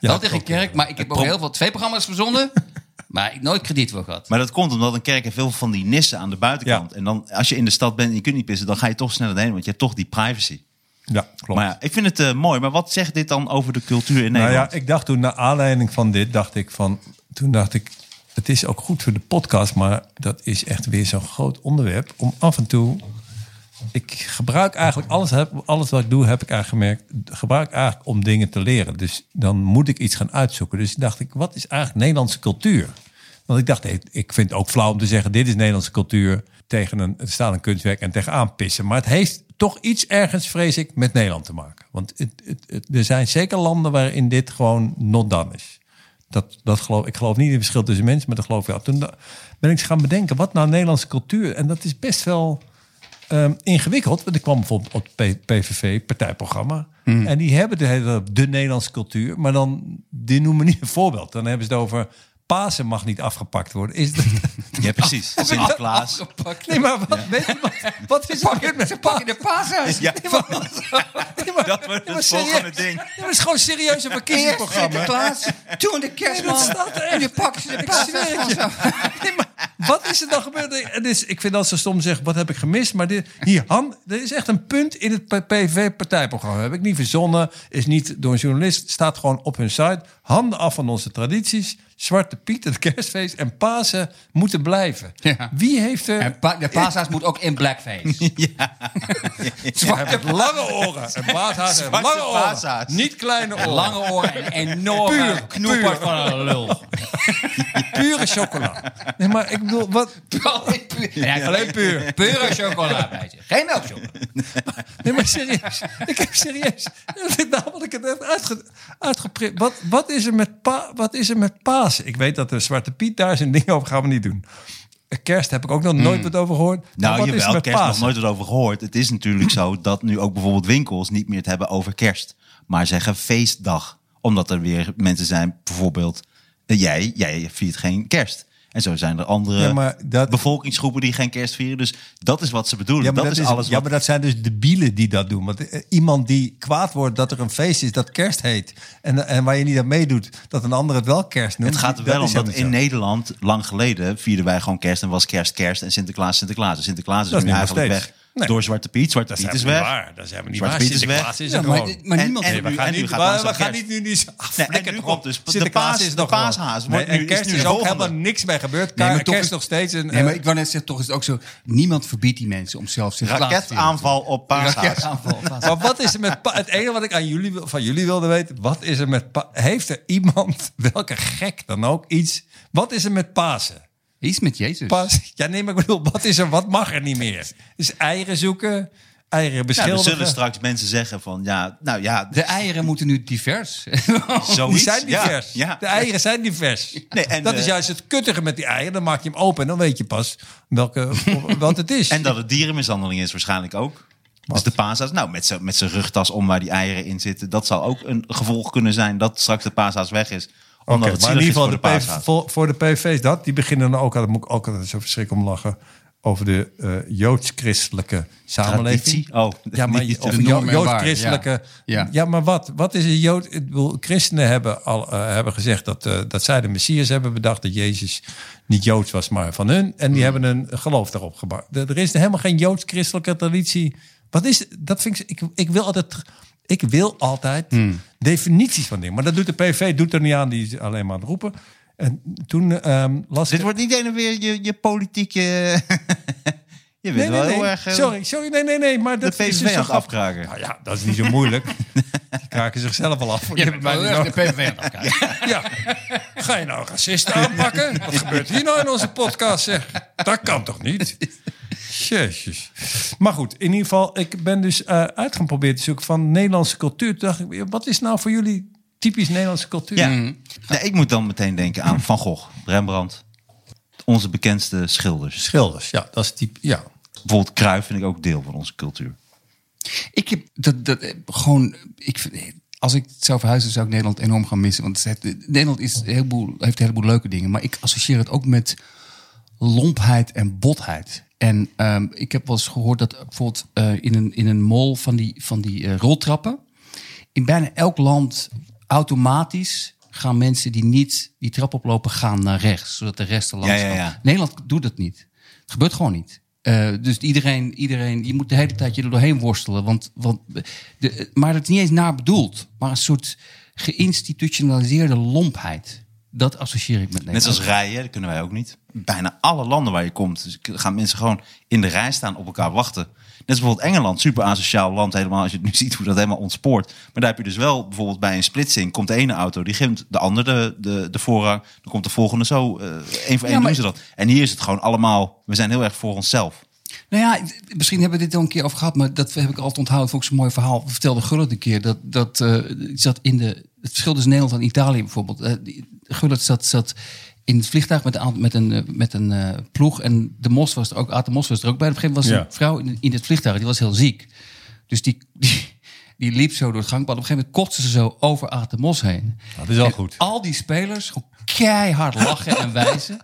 Ja,
wel tegen kerk, maar ik heb ook
pro-
heel veel twee programma's verzonnen. maar ik nooit krediet voor gehad.
Maar dat komt omdat een kerk heeft heel veel van die nissen aan de buitenkant.
Ja.
En dan, als je in de stad bent en je kunt niet pissen, dan ga je toch sneller heen. Want je hebt toch die privacy.
Ja, klopt.
Maar ja, ik vind het eh, mooi. Maar wat zegt dit dan over de cultuur in
Nou
Nederland?
ja, ik dacht toen, naar aanleiding van dit, dacht ik van... Toen dacht ik, het is ook goed voor de podcast... maar dat is echt weer zo'n groot onderwerp. Om af en toe... Ik gebruik eigenlijk alles, heb, alles wat ik doe, heb ik eigenlijk gemerkt... gebruik eigenlijk om dingen te leren. Dus dan moet ik iets gaan uitzoeken. Dus dacht ik, wat is eigenlijk Nederlandse cultuur? Want ik dacht, hé, ik vind het ook flauw om te zeggen... dit is Nederlandse cultuur tegen een, er staat een kunstwerk en tegenaan pissen. Maar het heeft toch iets ergens, vrees ik, met Nederland te maken. Want het, het, het- er zijn zeker landen waarin dit gewoon not done is. Dat, dat geloof, ik geloof niet in het verschil tussen mensen, maar dat geloof ik wel. Toen da- ben ik eens gaan bedenken, wat nou Nederlandse cultuur? En dat is best wel ehm, ingewikkeld. Want ik kwam bijvoorbeeld op P- PVV, partijprogramma.
Hmm.
En die hebben de hele de Nederlandse cultuur. Maar dan, die noemen niet een voorbeeld. Dan hebben ze het over... Pasen mag niet afgepakt worden. Is dat,
Ja, precies. Sinterklaas.
Afgepakt.
Nee, maar wat, weet je wat, wat is er met de
Pak in de paashuis.
Ja,
Nee, maar- Nee, maar-
Dat wordt
nee, maar
het
serieus.
volgende ding.
Nee, maar Het is gewoon een serieus een
Eerst
verkiezingsprogramma.
Sinterklaas, toen de kerstman.
Nee, dat staat er echt.
en nu pakken ze de
Ik zweer
paashuis.
het je. Nee, maar Wat is er dan gebeurd? Het is, ik vind dat ze stom zeggen, wat heb ik gemist? Maar dit, hier, Han, er is echt een punt in het PV-partijprogramma. Heb ik niet verzonnen, is niet door een journalist. Staat gewoon op hun site. Handen af van onze tradities. Zwarte Piet, het kerstfeest en Pasen moeten blijven.
Ja.
Wie heeft er...
En pa- de Pasa's moet ook in blackface.
Hij heeft lange oren. En baashaas heeft
Zwarte
lange oren.
baashaas.
Niet kleine oren.
Lange oren en enorme
Puur,
knoepert van een lul.
Pure chocola. Nee, maar ik bedoel, wat...
Alleen puur. En hij heeft alleen puur. Pure chocola bij zich. Geen melkchocola.
Nee, maar serieus. Ik heb serieus. Nou had ik het echt uitge, uitgeprint. Wat, wat, is er met pa, wat is er met Pasen? Ik weet dat de Zwarte Piet daar zijn ding over gaan we niet doen. Kerst heb ik ook nog nooit wat over gehoord. Maar
Hmm. Nou,
wat
je
is er
wel
met
kerst nog
Pasen?
nooit wat over gehoord. Het is natuurlijk zo dat nu ook bijvoorbeeld winkels niet meer het hebben over kerst. Maar zeggen feestdag. Omdat er weer mensen zijn, bijvoorbeeld eh, jij, jij viert geen kerst. En zo zijn er andere
Ja, maar dat-
bevolkingsgroepen die geen kerst vieren. Dus dat is wat ze bedoelen.
Ja, maar
dat,
dat,
is,
is,
alles
ja,
wat...
maar dat zijn dus debielen die dat doen. Want eh, iemand die kwaad wordt dat er een feest is dat kerst heet... en, en waar je niet aan meedoet, dat een ander het wel kerst noemt...
Het gaat er
dat
wel om
is
dat
helemaal
in
niet
Nederland lang geleden vierden wij gewoon kerst en was kerst kerst en Sinterklaas Sinterklaas. En Sinterklaas is,
Dat is
nu
nu nog
eigenlijk weg
steeds. Nee.
door Zwarte Piet. Zwarte
Dat is
Piet is weg.
waar. Dat zijn we niet
Zwarte
waar.
Piet is
Sinterklaas
weg.
is
Ja,
er
maar,
gewoon.
maar
En-
niemand
en
heeft-
nu-
we gaan
en nu
niet,
gaat
maar
langzaam
we gaan
kerst.
niet nu die af.
Nee, en
lekker
nu
erop.
komt dus de
Sinterklaas
paas-
is
de
nog wel.
paashaas.
Nee,
Wordt nu-
en
is
kerst
nu
is,
de
ook
volgende.
helemaal niks mee gebeurd.
Nee, maar
Kerst
toch
is
is-
nog steeds een...
Nee, maar
eh,
ik wou net zeggen, toch is het ook zo. Niemand verbiedt die mensen om zelf Sinterklaas te vieren.
Raketaanval op paashaas.
Raketaanval.
Maar wat is er met pa- Het enige wat ik aan jullie, wil- van jullie wilde weten, wat is er met pa- Heeft er iemand, welke gek dan ook, iets... Wat is er met Pasen?
Iets met Jezus.
Pas, ja, nee, maar ik bedoel, wat is er, wat mag er niet meer? Dus eieren zoeken, eieren
Ja, Dus er
beschilderen.
zullen straks mensen zeggen van ja, nou ja,
De eieren moeten nu divers.
zoiets.
die zijn
Ja,
divers.
Ja,
De eieren zijn divers.
Nee, en,
dat is
eh,
juist het kuttige met die eieren. Dan maak je hem open en dan weet je pas welke, wat het is.
En dat het dierenmishandeling is waarschijnlijk ook. Dus de paashaas, nou met zijn met zijn rugtas om waar die eieren in zitten. Dat zal ook een gevolg kunnen zijn dat straks de paashaas weg is. Omdat
Oké,
het
maar
zielig
in ieder
is
geval
voor de
de PV
paashaas.
voor, voor de PV's dat. Die beginnen dan ook, daar moet ik ook altijd zo verschrikkelijk om lachen... over de eh, joods-christelijke samenleving.
Traditie? Oh,
ja, maar
niet-
of jo-
de normen en waarden,
joods-christelijke...
ja.
Ja.
Ja.
maar wat? Wat is een jood... ik bedoel, Christenen hebben, al, eh, hebben gezegd dat, eh, dat zij de Messias hebben bedacht... dat Jezus niet joods was, maar van hun. En
Hmm.
die hebben een geloof daarop gebouwd. Er er is helemaal geen joods-christelijke traditie. Wat is... Dat vind ik... Ik, ik wil altijd... Ik wil altijd
Hmm.
definities van dingen. Maar dat doet de PV, doet er niet aan. Die is alleen maar aan het roepen. En toen ehm, las
Dit
ik...
wordt niet een en weer je, je politieke. je bent
Nee,
wel
nee,
heel
nee.
erg. eh,
Sorry, sorry. Nee, nee, nee. Maar
De
dat is
PSV
dus
aan
zo
het
grappig.
afkraken.
Nou ja, dat is niet zo moeilijk. Die kraken zichzelf al af.
Je
Je
hebt
hebt mij
wel heel erg
niet
de
nodig.
PVV aan het afkraken.
Ja. Ga je nou racisten aanpakken? Wat gebeurt hier nou in onze podcast? Zeg? Dat kan toch niet? Jezus. Maar goed, in ieder geval, ik ben dus eh, uit gaan proberen te zoeken van Nederlandse cultuur. Toen dacht ik, wat is nou voor jullie typisch Nederlandse cultuur?
Ja. Nee, ik moet dan meteen denken aan Van Gogh, Rembrandt. Onze bekendste schilders.
Schilders, ja, dat is typ, ja.
Bijvoorbeeld Kruif vind ik ook deel van onze cultuur.
Ik heb dat, dat eh, gewoon. Ik, vind- eh, als ik zou verhuizen, zou ik Nederland enorm gaan missen. Want het, heeft- eh, Nederland is een heleboel, heeft een heleboel leuke dingen. Maar ik associeer het ook met lompheid en botheid. En ehm, ik heb wel eens gehoord dat bijvoorbeeld eh, in, een, in een mall van die, van die eh, roltrappen. In bijna elk land automatisch gaan mensen die niet die trap oplopen, gaan naar rechts. Zodat de rest er langs
Ja, ja,
kan.
ja.
Nederland doet dat niet. Het gebeurt gewoon niet. Eh, dus iedereen, iedereen, je moet de hele tijd je er doorheen worstelen. Want, want de, maar het is niet eens naar bedoeld. Maar een soort geïnstitutionaliseerde lompheid. Dat associeer ik met
Net
Nederland.
zoals rijden, dat kunnen wij ook niet. Bijna alle landen waar je komt, dus gaan mensen gewoon in de rij staan op elkaar wachten. Net als bijvoorbeeld Engeland, super asociaal land helemaal. Als je het nu ziet hoe dat helemaal ontspoort. Maar daar heb je dus wel bijvoorbeeld bij een splitsing komt de ene auto, die geeft de andere de, de, de voorrang. Dan komt de volgende zo. eh één voor één
maar-
doen ze dat. En hier is het gewoon allemaal, we zijn heel erg voor onszelf.
Nou ja, d- misschien hebben we dit al een keer over gehad, maar dat heb ik altijd onthouden. Vond ik zo'n mooi verhaal. Vertelde Gullit een keer dat dat eh, zat in de het verschil tussen Nederland en Italië bijvoorbeeld. Eh, die- Gullit zat, zat in het vliegtuig met een aantal- met een eh, met een eh, ploeg en de mos was er ook. Aad de mos was er ook bij. Op een gegeven moment was
Ja.
een vrouw in, in het vliegtuig die was heel ziek, dus die, die die liep zo door het gangpad. Op een gegeven moment kotste ze zo over Aad de Mos heen.
Dat is wel
En
goed.
Al die spelers gewoon keihard lachen en wijzen.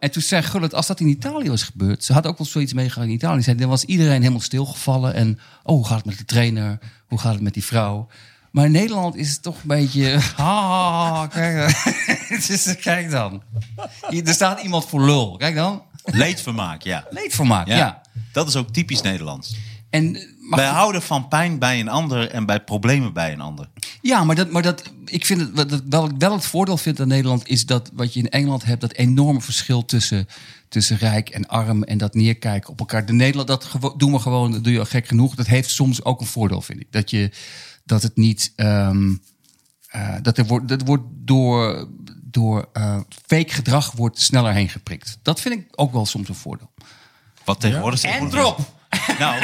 En toen zei Gullit, als dat in Italië was gebeurd... ze had ook wel zoiets meegemaakt in Italië. Zei, dan was iedereen helemaal stilgevallen. En oh, hoe gaat het met de trainer? Hoe gaat het met die vrouw? Maar in Nederland is het toch een beetje... Ha, ha, ha, kijk, dan. Het is- kijk dan. Hier, er staat iemand voor lul. Kijk dan.
Leedvermaak, ja.
Leedvermaak, ja.
Dat is ook typisch Nederlands.
En, eh, maar
Wij
goed,
houden van pijn bij een ander en bij problemen bij een ander.
ja, maar, dat, maar dat, ik vind het, wat, dat- wel, wel het voordeel vind aan Nederland is dat wat je in Engeland hebt, dat enorme verschil tussen, tussen rijk en arm en dat neerkijken op elkaar. De Nederland, dat gewo- doen we gewoon, dat doe je al gek genoeg. Dat heeft soms ook een voordeel, vind ik. Dat, je, dat het niet, ehm, eh, dat, er wordt, dat wordt door, door eh, fake gedrag wordt sneller heen geprikt. Dat vind ik ook wel soms een voordeel.
Wat tegenwoordig ja.
En drop!
Nou,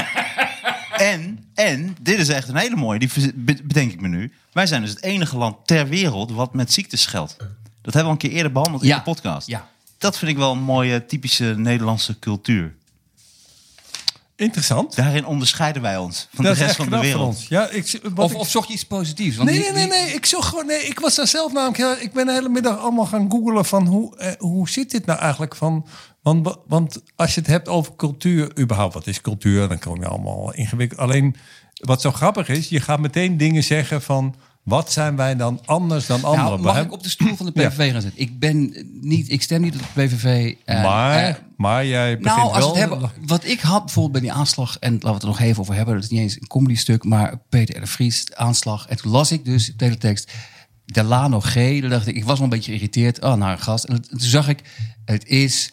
en, en, dit is echt een hele mooie, die verz- be- bedenk ik me nu. Wij zijn dus het enige land ter wereld wat met ziektes geldt. Dat hebben we al een keer eerder behandeld
Ja.
in de podcast.
Ja.
Dat vind ik wel een mooie, typische Nederlandse cultuur.
Interessant.
Daarin onderscheiden wij ons van
dat
de
is
rest
echt
van de
knap
wereld.
Van ons. Ja, ik, wat
Of,
ik-
of zocht je iets positiefs? Want
Nee,
die-
nee, nee, nee. Ik, zocht gewoon, nee. ik was daar zelf namelijk heel... Ik ben de hele middag allemaal gaan googelen van hoe, eh, hoe zit dit nou eigenlijk? Van, want, be- want als je het hebt over cultuur überhaupt, wat is cultuur? Dan kom je allemaal ingewikkeld. Alleen wat zo grappig is, je gaat meteen dingen zeggen van... Wat zijn wij dan anders dan anderen?
Nou, mag
We
ik op de stoel van de PVV gaan zitten? Ik, ben niet, ik stem niet op de PVV. eh,
maar,
eh,
maar jij begint
nou, als
wel...
het hebben, wat ik had bijvoorbeeld bij die aanslag, en laten we het er nog even over hebben, dat is niet eens een comedy stuk, maar Peter R. de Vries, de aanslag. En toen las ik dus de hele tekst Delano G. Daar dacht ik, ik was wel een beetje geïrriteerd. Oh, naar een gast. En toen zag ik, het is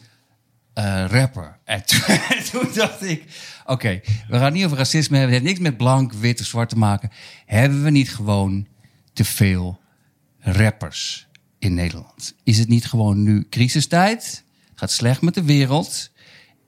eh, rapper. En toen, en toen dacht ik, oké, we gaan het niet over racisme hebben. Het heeft niks met blank, wit of zwart te maken. Hebben we niet gewoon te veel rappers in Nederland? Is het niet gewoon nu crisistijd? Het gaat slecht met de wereld.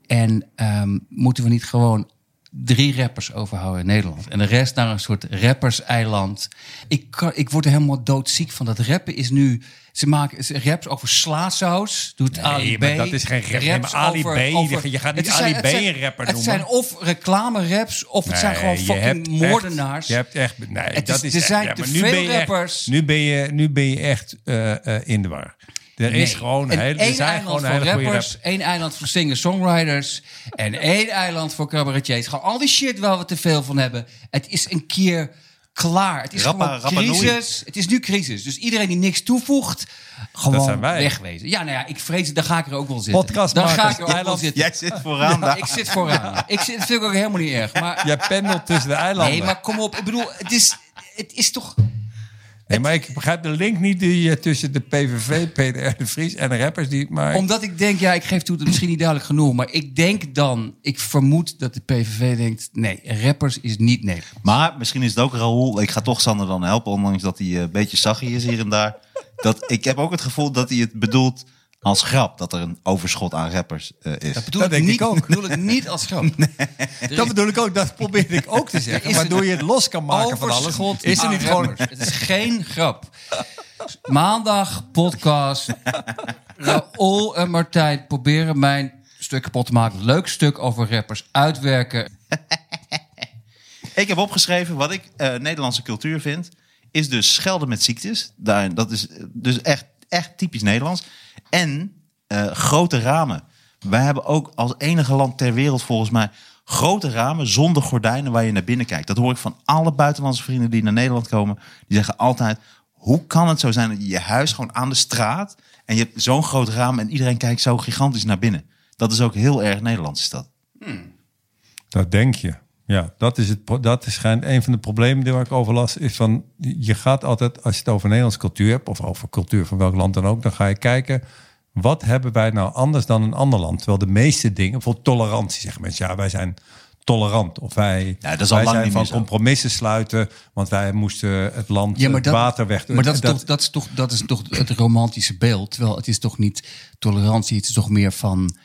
En ehm, moeten we niet gewoon drie rappers overhouden in Nederland? En de rest naar een soort rappers-eiland. Ik, kan- ik word er helemaal doodziek van. Dat rappen is nu... Ze maken ze raps over slaasaus. Doet Ali B.
maar dat is geen rap. Nee,
Raps
maar Ali
over-
B, je
over-
gaat- je gaat
Het
niet Ali
het
B een rapper
het
noemen.
zijn of reclame-raps... of het zijn gewoon
je
fucking
hebt echt-
moordenaars.
je hebt echt. Nee,
Het
dat
is-
is,
er
echt-
zijn
ja,
te
maar nu
veel
ben je echt-
rappers.
nu, ben je, nu ben je echt eh, eh, in de war. Er is
Nee.
gewoon
En
een hele. Er
één
zijn
eiland
gewoon
voor
hele goede
rappers,
rappers.
één eiland voor singer-songwriters en één eiland voor cabaretiers. Gewoon al die shit waar we te veel van hebben. Het is een keer klaar. Het is
Rappa-
gewoon
Rappa Nui.
crisis. Het is nu crisis. Dus iedereen die niks toevoegt, gewoon
zijn wij.
wegwezen. Ja, nou ja, ik vrees, daar ga ik er ook wel zitten. daar
Podcastmakers,
ga ik er ook wel
eiland.
zitten.
Jij zit vooraan daar.
Ik zit vooraan. Ik zit, dat vind ik ook helemaal niet erg. Maar,
Jij pendelt tussen de eilanden.
nee, maar kom op. Ik bedoel, het is, het is toch...
ik begrijp de link niet die je tussen de PVV, PDR, de Vries en de rappers die. Maar
Omdat ik denk, ja, ik geef toe, dat is misschien niet duidelijk genoeg. Maar ik denk dan, ik vermoed dat de PVV denkt... nee, rappers is niet Nederland.
Maar misschien is het ook Raoul. Ik ga toch Sander dan helpen, ondanks dat hij eh, een beetje saggy is hier en daar. Dat, ik heb ook het gevoel dat hij het bedoelt als grap. Dat er een overschot aan rappers eh, is.
Dat bedoel
Dat
ik
denk
niet,
ik ook.
bedoel ik niet als grap.
dat bedoel ik ook, dat probeer ik ook te
Er
zeggen.
is
Waardoor
een
je het los kan maken van alles.
Overschot
Is er
aan
niet gewoon.
rappers. Het is geen grap. Maandag, podcast. Raoul en Martijn proberen mijn stuk kapot te maken. Leuk stuk over rappers uitwerken.
Ik heb opgeschreven wat ik eh, Nederlandse cultuur vind. Is dus schelden met ziektes. Daarin, dat is eh, dus echt, echt typisch Nederlands. En eh, grote ramen. Wij hebben ook als enige land ter wereld volgens mij grote ramen zonder gordijnen waar je naar binnen kijkt. Dat hoor ik van alle buitenlandse vrienden die naar Nederland komen. Die zeggen altijd, hoe kan het zo zijn dat je je huis gewoon aan de straat... en je hebt zo'n groot raam en iedereen kijkt zo gigantisch naar binnen. Dat is ook heel erg Nederlands, is dat.
Dat denk je. Ja, dat is, het, pro- dat is schijnt een van de problemen die waar ik over las. Is van, je gaat altijd, als je het over Nederlandse cultuur hebt... of over cultuur van welk land dan ook... dan ga je kijken, wat hebben wij nou anders dan een ander land? Terwijl de meeste dingen, bijvoorbeeld tolerantie, zeggen mensen... ja, wij zijn tolerant. Of wij,
Ja, dat is al
wij
lang
zijn
niet
van
meer zo.
compromissen sluiten... want wij moesten het land
Ja, maar
het
dat,
water weg...
Maar dat is, toch, dat, is toch, dat is toch het romantische beeld. Terwijl het is toch niet tolerantie. Het is toch meer van...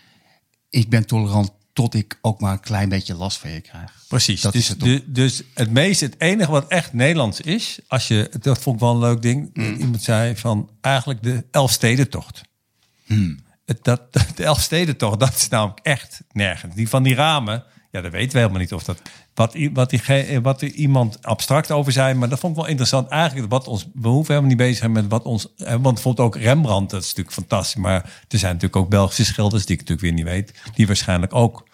Ik ben tolerant tot ik ook maar een klein beetje last van je krijg.
Precies.
Dat
dus,
is het
du- dus het meeste, het enige wat echt Nederlands is, als je, dat vond ik wel een leuk ding.
Mm.
Iemand zei van eigenlijk de Elfstedentocht. Het, dat, dat- de Elfstedentocht, dat is namelijk echt nergens. Die van die ramen, ja, dat weten we helemaal niet of dat. Wat, i- wat, die, ge- eh, wat er iemand abstract over zei, maar dat vond ik wel interessant. Eigenlijk, wat ons, we hoeven helemaal niet bezig te zijn met wat ons. eh, Want bijvoorbeeld ook Rembrandt, dat is natuurlijk fantastisch. Maar er zijn natuurlijk ook Belgische schilders, die ik natuurlijk weer niet weet, die waarschijnlijk ook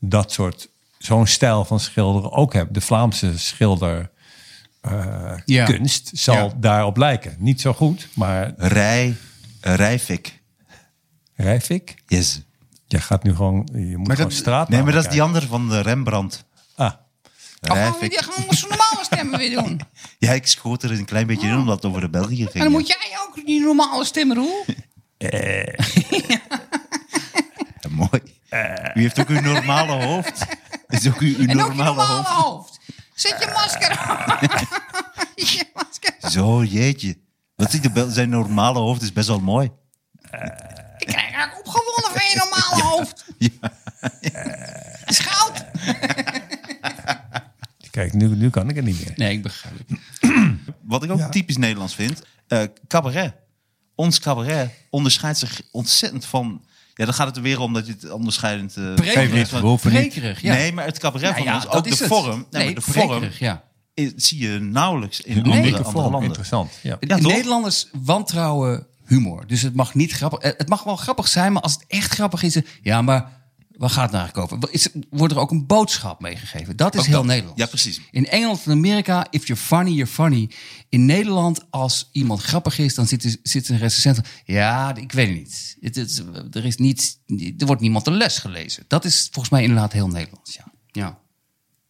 dat soort. Zo'n stijl van schilderen ook hebben. De Vlaamse schilder
Ja.
kunst zal
Ja.
daarop lijken. Niet zo goed, maar
Rij, eh, Rijvik.
Rijfik.
Yes.
Je gaat nu gewoon, je moet gewoon straat
Nee, maar dat is die andere van de Rembrandt.
Ah,
Rijf
Oh,
ik-
die gewoon zo normale stemmen weer doen.
Ja, ik schoot er een klein beetje in omdat het over de België ging.
En dan moet jij ook die normale stemmen doen.
Ja, mooi.
Eh.
U heeft ook uw normale hoofd. Het is ook uw, uw
En ook je
normale
normale
hoofd.
hoofd. Zet je masker aan. je masker.
Zo, jeetje. Wat ik de Bel- zijn normale hoofd is best wel mooi.
Ik krijg eigenlijk opgewonden van je normale hoofd. Is goud.
kijk, nu, nu kan ik het niet meer.
Nee, ik begrijp het.
Wat ik ook typisch Nederlands vind, eh, cabaret. Ons cabaret onderscheidt zich ontzettend van... Ja, dan gaat het er weer om dat je het onderscheidend... eh,
Prekerig.
Want-
we hoeven niet.
Prekerig, ja.
Nee, maar het cabaret
Ja,
van
Nou ja,
ons,
dat
dus ook de
is het.
vorm, nee,
Nee,
maar de vorm
prekerig, ja.
is- zie je nauwelijks in
Een
andere,
unieke
andere
vorm,
landen.
interessant. Ja.
Ja, toch?
Nederlanders wantrouwen humor. Dus het mag niet grappig. eh, Het mag wel grappig zijn, maar als het echt grappig is, eh, ja, maar waar gaat het nou eigenlijk over? Is, wordt er ook een boodschap meegegeven? Dat is
Ook
heel
dat.
Nederlands.
Ja, precies.
In Engeland en Amerika, if you're funny, you're funny. In Nederland, als iemand grappig is, dan zit, er- zit een recensent. van, Ja, ik weet het niet. Het, is- er, is niet er wordt niemand de les gelezen. Dat is volgens mij inderdaad heel Nederlands. Ja. ja.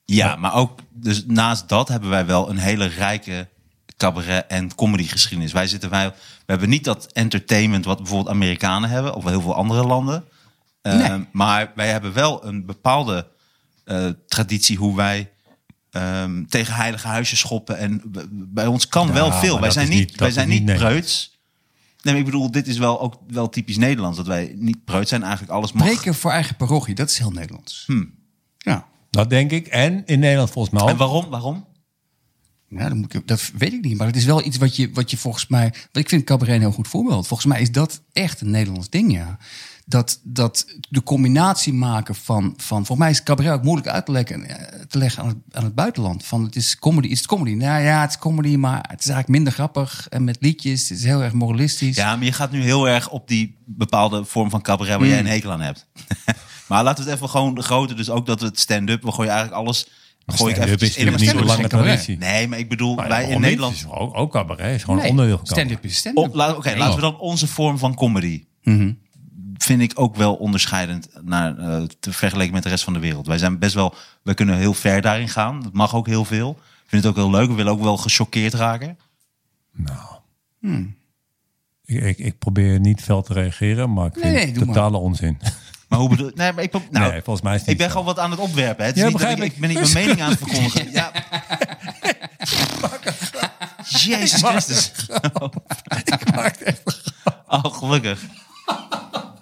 Ja, maar ook, dus naast dat hebben wij wel een hele rijke cabaret- en comedygeschiedenis. Wij zitten, wij, we hebben niet dat entertainment wat bijvoorbeeld Amerikanen hebben of heel veel andere landen. Eh,
Nee.
Maar wij hebben wel een bepaalde eh, traditie hoe wij ehm, tegen heilige huizen schoppen. En b- bij ons kan wel veel.
maar
Wij
dat
zijn
is niet-
niet, wij
dat
zijn
is niet
niet preuts. Nee, maar ik bedoel, dit is wel ook wel typisch Nederlands. Dat wij niet preuts zijn, eigenlijk alles mag. Hm.
Preken voor eigen parochie, dat is heel Nederlands.
Ja.
Dat denk ik. En in Nederland volgens mij ook.
En waarom? Waarom?
Ja, dan moet ik...
Dat weet ik niet, maar het is wel iets wat je, wat je volgens mij... want Ik vind cabaret een heel goed voorbeeld. Volgens mij is dat echt een Nederlands ding, ja. Dat, dat de combinatie maken van, van... Volgens mij is cabaret ook moeilijk uit te leggen, eh, te leggen aan, het, aan het buitenland. Van het is comedy, is het comedy? Nou ja, het is comedy, maar het is eigenlijk minder grappig. En met liedjes, het is heel erg moralistisch.
Ja, maar je gaat nu heel erg op die bepaalde vorm van cabaret waar jij een hekel aan hebt. maar laten we het even gewoon de grote, dus ook dat we het stand-up, we gooien eigenlijk alles. Gooi ik
Stand-up
eventjes
Dus is
in.
natuurlijk niet een
Maar
lange
stand-up is
traditie.
geen cabaret. Nee, maar ik bedoel,
Nou ja,
wij in
waarom niet? Het
Nederland.
Is ook, ook cabaret is gewoon
Nee,
onderdeel van cabaret.
stand-up is stand-up.
Op, laat- Oké, laten we dan onze vorm van comedy. Vind ik ook wel onderscheidend naar, eh, te vergelijken met de rest van de wereld. Wij zijn best wel, we kunnen heel ver daarin gaan. Dat mag ook heel veel. Ik vind het ook heel leuk. We willen ook wel gechoqueerd raken.
Nou.
Hmm.
Ik, ik, ik probeer niet fel te reageren, maar ik vind
nee,
het
doe maar.
totale onzin.
Maar hoe bedoel Nee, maar ik, nou,
nee, volgens mij is het
Ik
niet
ben
zo.
gewoon wat aan het opwerpen. Hè? Het is
Ja,
niet dat
begrijp
ik,
ik.
ik ben niet mijn mening aan het verkondigen. Ja. Jezus Christus. Oh, gelukkig.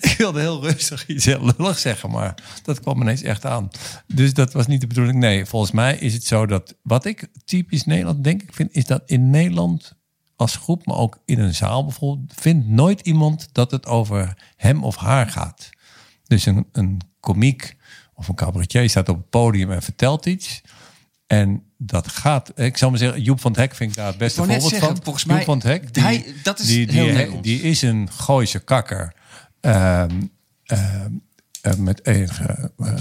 Ik wilde heel rustig iets heel lullig zeggen, maar dat kwam ineens echt aan. Dus dat was niet de bedoeling. Nee, volgens mij is het zo dat wat ik typisch Nederland denk ik vind, is dat in Nederland als groep, maar ook in een zaal bijvoorbeeld, vindt nooit iemand dat het over hem of haar gaat. Dus een, een komiek of een cabaretier staat op het podium en vertelt iets. En dat gaat, ik zal maar zeggen, Joep van het Hek vind ik daar het beste
wou net
voorbeeld
zeggen,
van.
volgens
Joep
mij-
van het Hek, die,
hij- dat is
die, die,
heel
die-
Nederlands.
die is een Gooise kakker. Ehm, ehm, eh, met enige. eh,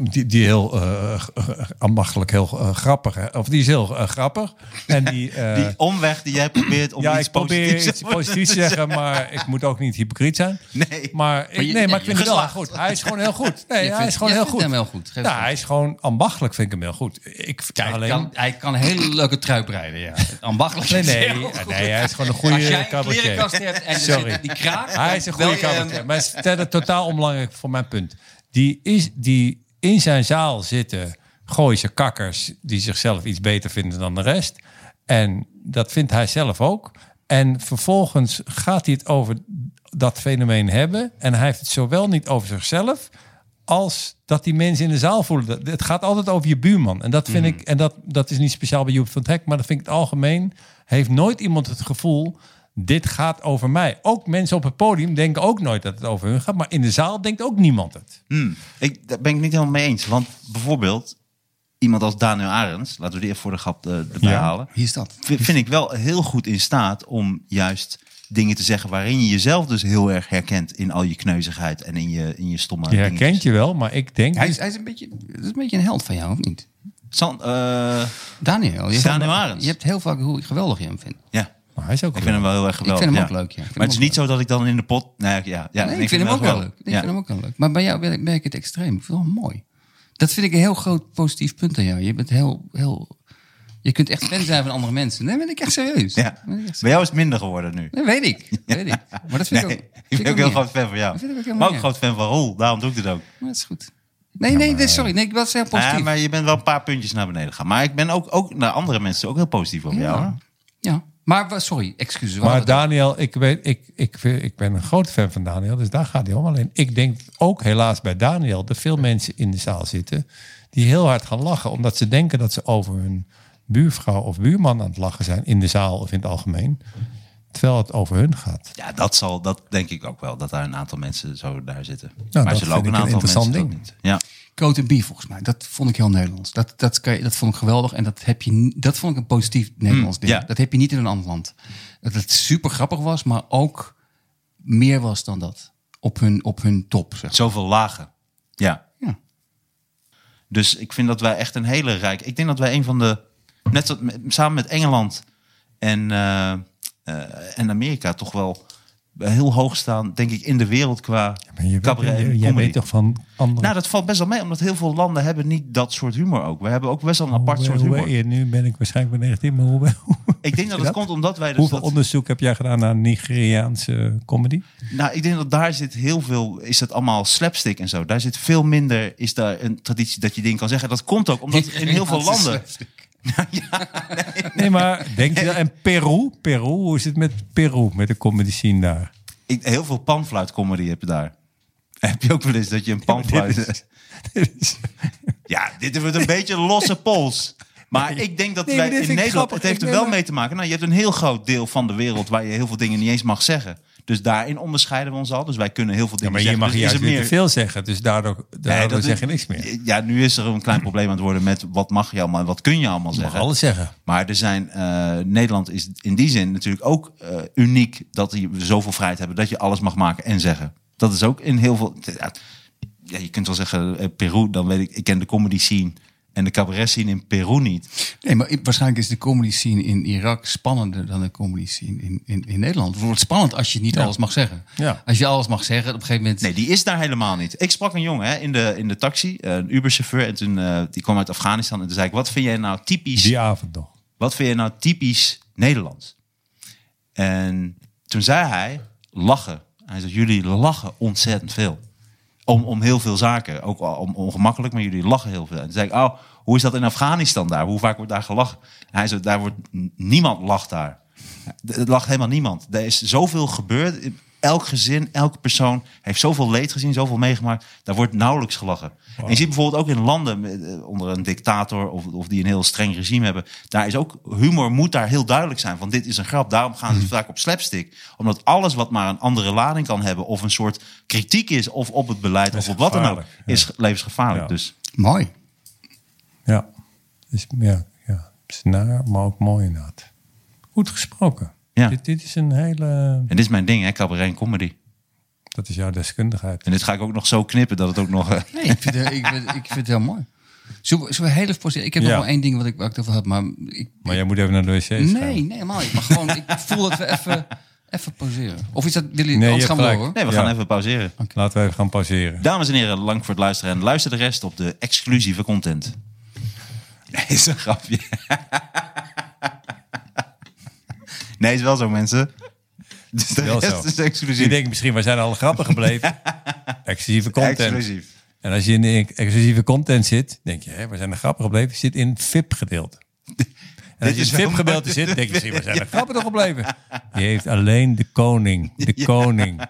die, die heel eh, g- g- ambachtelijk, heel eh, grappig. hè. Of die is heel eh, grappig. En die. eh,
Die omweg die jij probeert om
ja,
iets
ik probeer
positiefs
iets positiefs te zeggen, maar ik moet ook niet hypocriet zijn.
Nee.
Maar ik, nee,
je-
maar
nee,
ik vind het wel goed. Hij is gewoon heel goed. Nee,
Je
hij
vindt-
is gewoon
je
heel
vindt
goed.
hem heel goed. Geef
Nou,
het
hij is gewoon ambachtelijk, vind ik hem heel goed. Ik
Hij,
alleen.
kan, hij kan een hele leuke trui breiden, ja. Ambachtelijk.
Nee,
is
nee,
heel goed.
nee, hij is gewoon een goede
Als jij een klerenkast
cabaretier.
hebt en er
Sorry.
zit die kraak...
Hij is een goede
dan bel je hem.
cabaretier. Maar het is verder totaal onbelangrijk voor mijn punt. Die, is, die in zijn zaal zitten gooise kakkers die zichzelf iets beter vinden dan de rest. En dat vindt hij zelf ook. En vervolgens gaat hij het over dat fenomeen hebben. En hij heeft het zowel niet over zichzelf als dat die mensen in de zaal voelen. Dat- Het gaat altijd over je buurman. En dat vind
Mhm.
ik, en dat, dat is niet speciaal bij Joep van het Hek, maar dat vind ik het algemeen. Heeft nooit iemand het gevoel, dit gaat over mij. Ook mensen op het podium denken ook nooit dat het over hun gaat, maar in de zaal denkt ook niemand het.
Hmm. Ik, daar ben ik niet helemaal mee eens. Want bijvoorbeeld, iemand als Daniel Arends, laten we die even voor de grap eh, erbij
Ja.
halen.
Wie is dat?
vi- Vind ik wel heel goed in staat om juist dingen te zeggen waarin je jezelf dus heel erg herkent in al je kneuzigheid en in je, in je stomme
Je
dingetjes.
herkent je wel, maar ik denk. dus-
Hij is, hij is, een, beetje, dat is een beetje een held van jou, of niet?
San- eh,
Daniel. Je
Daniel
hebt-
Arends.
Je hebt heel vaak hoe geweldig je hem vindt.
ja.
Maar hij is ook
Ik vind hem wel heel erg geweldig.
vind hem ook
ja.
leuk, ja. Ik vind
Maar
hem
het is
ook
niet zo dat ik dan in de pot... Nee, ja, ja,
Nee, ik vind hem ook wel leuk. Ik
Ja.
vind hem ook wel leuk. Maar bij jou ben ik- merk ik het extreem. Ik vind het wel mooi. Dat vind ik een heel groot positief punt aan jou. Je bent heel, heel... Je kunt echt fan zijn van andere mensen. Nee, ben ik echt serieus.
Ja.
Ben ik echt
Bij jou is het minder geworden nu.
Nee, weet ik. Weet ik. Maar dat vind
Nee,
ik ook...
ik
vind
ben ook heel
niet
groot
erg.
fan van jou.
Dat vind ik ook helemaal
Maar ook
niet
groot fan van Roel, daarom doe ik dit ook.
Maar dat is goed. Nee, nee, nee, sorry. Nee, ik was heel positief.
Ja, maar je bent wel een paar puntjes naar beneden gegaan. Maar ik ben ook, ook naar andere mensen ook heel positief op jou. hoor.
Ja. Maar wa- sorry, excuses. we
Maar
hadden het
Daniel, ik, weet, ik, ik, vind- ik ben een groot fan van Daniel, dus daar gaat hij om. Alleen ik denk ook helaas bij Daniel dat veel mensen in de zaal zitten die heel hard gaan lachen, omdat ze denken dat ze over hun buurvrouw of buurman aan het lachen zijn in de zaal of in het algemeen, terwijl het over hun gaat.
Ja, dat zal, dat denk ik ook wel, dat daar een aantal mensen zo daar zitten. maar
dat
ze
vind
zullen ook een
ik een
aantal
interessant
mensen
ding.
dat niet. Ja.
Coat en Bie volgens mij. Dat vond ik heel Nederlands. Dat, dat, kan je, dat vond ik geweldig. En dat, heb je, ni- dat vond ik een positief Nederlands ding.
Mm, ja.
Dat heb je niet in een ander land. Dat het super grappig was, maar ook meer was dan dat. Op hun, op hun top, zeg
Zoveel lagen. Ja.
Ja.
Dus ik vind dat wij echt een hele rijk. Ik denk dat wij een van de. Net zo- met- samen met Engeland en, eh, eh, en Amerika toch wel heel hoog staan, denk ik, in de wereld qua
Maar je
cabaret. en
weet, jij
comedy.
weet toch van andere...
Nou, dat valt best wel mee, omdat heel veel landen hebben niet dat soort humor ook. We hebben ook best wel een apart soort
Hoe- hoe-
humor.
nu ben ik waarschijnlijk bij 19, maar hoe, hoe-
Ik denk dat het
dat?
komt omdat wij dus
hoeveel
dat,
onderzoek heb jij gedaan naar Nigeriaanse comedy?
Nou, ik denk dat daar zit heel veel, is dat allemaal slapstick en zo. Daar zit veel minder, is daar een traditie dat je dingen kan zeggen. Dat komt ook omdat in heel veel landen...
Nee, maar denk je dat... En Peru? Peru? Hoe is het met Peru, met de comedy scene daar?
Ik, heel veel panfluitcomedy heb je daar. Heb je ook wel eens dat je een panfluit... Ja,
dit
dit,
is- dit is-
wordt een beetje een losse pols. Maar ik denk dat
Nee, maar
wij
dit
in
vind ik
Nederland...
grappig.
Het heeft
Ik
er
neem
wel
maar-
mee te maken. Nou, je hebt een heel groot deel van de wereld waar je heel veel dingen niet eens mag zeggen. Dus daarin onderscheiden we ons al. Dus wij kunnen heel
Ja,
veel dingen
maar hier mag je
zeggen. Dus
juist
is er
weer
meer-
te veel zeggen. Dus daardoor, daardoor
Nee, dat
zeg
is-
je niks meer.
Ja, nu is er een klein probleem aan het worden met wat mag je allemaal en wat kun je allemaal
Je mag
zeggen.
alles zeggen.
Maar er zijn, eh, Nederland is in die zin natuurlijk ook eh, uniek dat die we zoveel vrijheid hebben dat je alles mag maken en zeggen. Dat is ook in heel veel. Ja, ja, je kunt wel zeggen eh, Peru, dan weet ik, ik ken de comedy scene en de cabaret scene in Peru niet.
Nee, maar i- waarschijnlijk is de comedy scene in Irak spannender dan de comedy scene in, in, in Nederland. Het wordt spannend als je niet alles mag zeggen.
Ja.
Als je alles mag zeggen, op een gegeven moment...
Nee, die is daar helemaal niet. Ik sprak een jongen hè, in, de, in de taxi, eh, een Uberchauffeur, en toen eh, die kwam uit Afghanistan en toen zei ik: wat vind jij nou typisch?
Die avond nog.
wat vind je nou typisch Nederlands? En toen zei hij, lachen. Hij zei, jullie lachen ontzettend veel. Om, om heel veel zaken. Ook al om, ongemakkelijk, maar jullie lachen heel veel. En toen zei ik, oh, hoe is dat in Afghanistan daar? Hoe vaak wordt daar gelachen? En hij zei, daar wordt, n- niemand lacht daar. Er lacht helemaal niemand. Er is zoveel gebeurd. Elk gezin, elke persoon heeft zoveel leed gezien, zoveel meegemaakt. Daar wordt nauwelijks gelachen. En je ziet bijvoorbeeld ook in landen met, eh, onder een dictator of, of die een heel streng regime hebben. Daar is ook humor moet daar heel duidelijk zijn. Van dit is een grap. Daarom gaan
Mhm.
ze vaak op slapstick. Omdat alles wat maar een andere lading kan hebben of een soort kritiek is of op het beleid of
is
op wat dan ook,
gevaarlijk, ja.
is levensgevaarlijk.
Ja.
Dus
Mooi.
Ja. Dus, ja, ja. Het is naar, maar ook mooi inderdaad. Goed gesproken.
Ja.
Dit, dit is een hele...
en dit is mijn ding, hè, cabaret en comedy.
Dat is jouw deskundigheid.
En dit ga ik ook nog zo knippen dat het ook nog. eh,
Nee, ik vind, het- ik, vind, ik vind het heel mooi. Zullen we, zullen we heel even positief... Ik heb
Ja.
nog wel één ding wat ik, waar ik het over had, maar ik,
Maar jij moet even naar de wc
Nee,
schrijven.
nee, helemaal niet. Maar gewoon, ik voel dat we even, even pauzeren. Of is dat, willen jullie
Nee,
anders
je
gaan we
hebt gelijk.
door,
Nee,
hoor?
we gaan
Ja.
even pauzeren.
Laten we even gaan pauzeren.
Dames en heren, lang voor het luisteren en luister de rest op de exclusieve content. Nee, is een grapje. Nee, is wel zo, mensen. Dus de
Wel
rest
zo.
is
Je
exclusief.
denkt misschien, we zijn al grappig gebleven. Exclusieve content.
Exclusief.
En als je in de exclusieve content zit, denk je, hè, we zijn er grappig gebleven. Je zit in VIP-gedeelte. En als je
is
in
wel
VIP-gedeelte zit, denk je misschien, we zijn er grappig gebleven. Je heeft alleen de koning. De koning.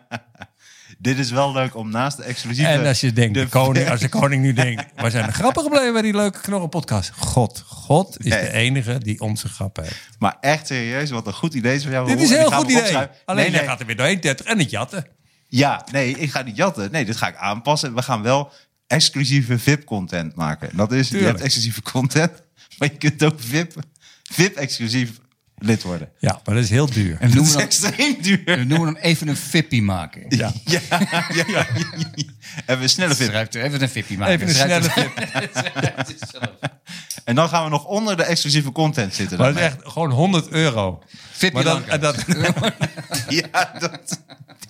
Dit is wel leuk om naast de exclusieve...
En als je denkt, de koning, als de koning nu denkt, we zijn er grappig gebleven bij die leuke knorrenpodcast. God, God is
Nee.
de enige die onze grap heeft.
Maar echt serieus, wat een goed idee is van jou.
Dit
Roel.
is
En
een
ik
heel
ga hem
goed idee.
opschrijven.
Alleen
Nee,
jij
nee.
gaat er weer doorheen, 30 en het jatten.
Ja, nee, ik ga niet jatten. Nee, dit ga ik aanpassen. We gaan wel exclusieve VIP-content maken. Dat is, je
Tuurlijk.
hebt exclusieve content, maar je kunt ook VIP, VIP-exclusief lid worden.
Ja, maar dat is heel duur.
En we
Dat
noemen
is
dan,
extreem duur.
we noemen dan even een fippie maken.
Ja. ja, ja, ja. Even een snelle fit.
Schrijf er even een fippie maken.
Even een
Schrijf er-
snelle
En dan gaan we nog onder de exclusieve content zitten.
Maar
Dan.
het is echt gewoon 100 euro.
Fippie
Maar dan,
Langhuis.
en dat,
Ja, dat...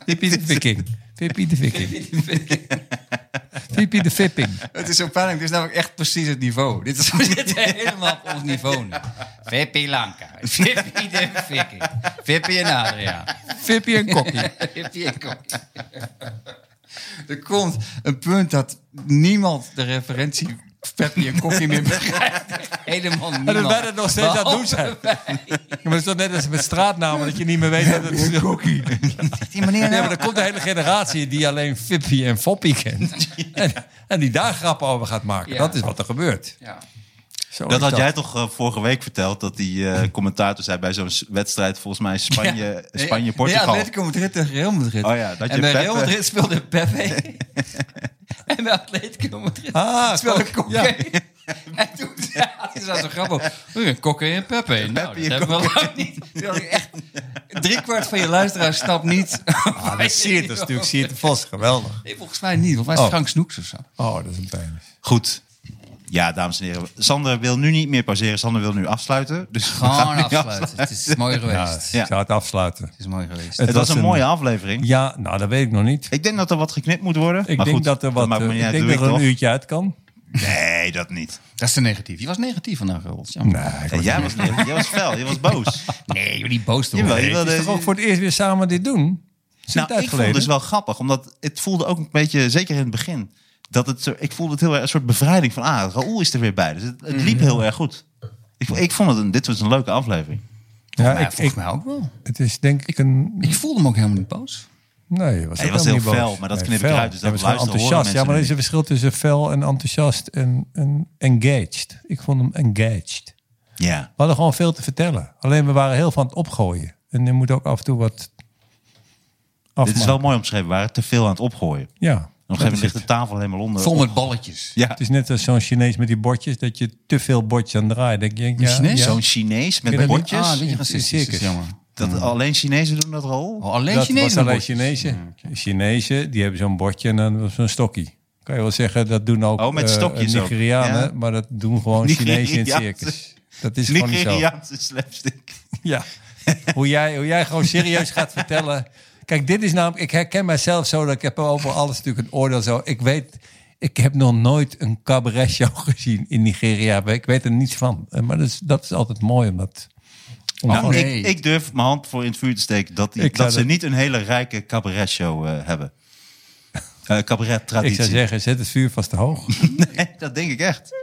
Pippi de Viking. Pippi de Viking. Pippi de Vipping.
Het is zo pijnlijk. Dit is namelijk echt precies het niveau. Dit is
We zitten helemaal op ons niveau nu. Vippi Lanka. Vippi de Viking. Vippi en Adria.
Vippi en Kokkie.
Vippi en Kokkie.
Er komt een punt dat niemand de referentie Peppy en Kokkie meer begrijpt.
Helemaal
En dat wij
niemand.
dat nog steeds aan het doen zijn. Ja, maar het is toch net als met straatnamen, dat je niet meer weet dat het is. Kokkie.
Die meneer
Ja,
nou-
maar er komt een hele generatie die alleen Vippi en Foppie kent. En, en die daar grappen over gaat maken.
Ja.
Dat is wat er gebeurt.
Ja.
Zo is
Dat had jij toch eh, vorige week verteld, dat die eh, commentator zei bij zo'n s- wedstrijd, volgens mij Eh, Spanje- Spanje-Portugal.
Ja, Atletico Madrid tegen Real Madrid.
Oh ja, dat je
en bij
Pepe-
Real Madrid speelde Pepe. en bij Atletico Madrid
Ah,
speelde
Kok-
Kokke. En toen ja, het is dat zo grappig. Oeh, Kokke en Pepe. Nou, dat
en
hebben we al lang niet. Terwijl je echt driekwart van je luisteraars snapt niet.
Ah, dat is Siert, dat is natuurlijk Siert de Vos. Geweldig.
Nee, volgens mij niet. Volgens mij is het
Oh.
Frank Snoeks of zo.
Oh, dat is een pijn.
Goed. Ja, dames en heren. Sander wil nu niet meer pauzeren. Sander wil nu afsluiten. Dus we gaan nu
Gewoon afsluiten. Het is mooi geweest.
Ja,
Het
Ik zou het afsluiten.
is mooi geweest.
Het was een mooie aflevering.
Ja, nou, dat weet ik nog niet.
Ik denk dat er wat geknipt moet worden.
Ik
maar
denk
goed,
dat er wat.
maakt me
eh,
niet
ik
uit,
denk
doe
dat er een
toch?
uurtje uit kan.
Nee, dat niet.
Dat is te negatief. Je was negatief vandaag, Roland. Jammer.
Nee, ik
Nee,
word-
jij, was, niet- jij was fel, jij was boos.
Nee, jullie boos te
Jawel, je
Het
wilde,
is toch ook voor het eerst weer samen dit doen? Is een tijd
nou, ik vond
geleden.
het dus wel grappig, omdat het voelde ook een beetje, zeker in het begin, dat het, zo- ik voelde het heel erg een soort bevrijding van, ah, Raoul is er weer bij. Dus het, het
Mhm.
liep heel erg goed. Ik, vo- ik vond het, een, dit was een leuke aflevering.
ja,
Ja,
ik,
volgens
ik-
mij ook wel.
het is denk ik een...
Ik voelde me ook helemaal niet boos.
Nee, je was,
Hij
ook helemaal
was heel
niet
fel,
boos.
maar dat
Nee,
knip ik
fel.
eruit, dus
Hij
dat
was gewoon
luisteren horen
enthousiast. Ja, maar er is
mensen
een verschil tussen fel en enthousiast en, en engaged. Ik vond hem engaged.
Ja.
We hadden gewoon veel te vertellen. Alleen we waren heel van het opgooien. En je moet ook af en toe wat afmaken.
Dit is wel mooi omschreven, we waren te veel aan het opgooien. En
Ja.
op een
dat
gegeven
is
moment ligt
het.
de tafel helemaal onder.
Vol met balletjes.
Ja,
Het is net als zo'n Chinees met die bordjes, dat je te veel bordjes aan draait. Denk je, ja,
Chinees?
ja.
zo'n Chinees met
Ken je dat
bordjes.
Ah, weet je,
in- in
racistisch. Dat is
circus.
jammer.
Dat alleen Chinezen doen dat rol.
Oh, alleen
dat
Chinezen.
was alleen
bordjes.
Mm,
Chinezen. Chinezen, die hebben zo'n bordje en dan zo'n stokkie. Kan je wel zeggen, dat doen ook
Oh, met
eh,
stokjes ook.
Nigerianen,
Ja.
maar dat doen gewoon Chinezen in het circus.
Nigeriaanse.
Dat is gewoon niet zo.
Nigeriaanse slapstick.
Ja. hoe, jij, hoe jij gewoon serieus gaat vertellen. Kijk, dit is namelijk, ik herken mijzelf zo dat ik heb over alles natuurlijk een oordeel zo. Ik weet, ik heb nog nooit een cabaret show gezien in Nigeria. Ik weet er niets van. Eh, Maar dat is, dat is altijd mooi, omdat... om
Nou,
gewoon-
nee.
ik, ik durf mijn hand voor in het vuur te steken dat, die-
Ik zou
dat ze
dat-
niet een hele rijke cabaret-show eh, hebben. Eh
ik
Cabaret-traditie.
zou zeggen, zet het vuur vast te hoog.
nee, dat denk ik echt.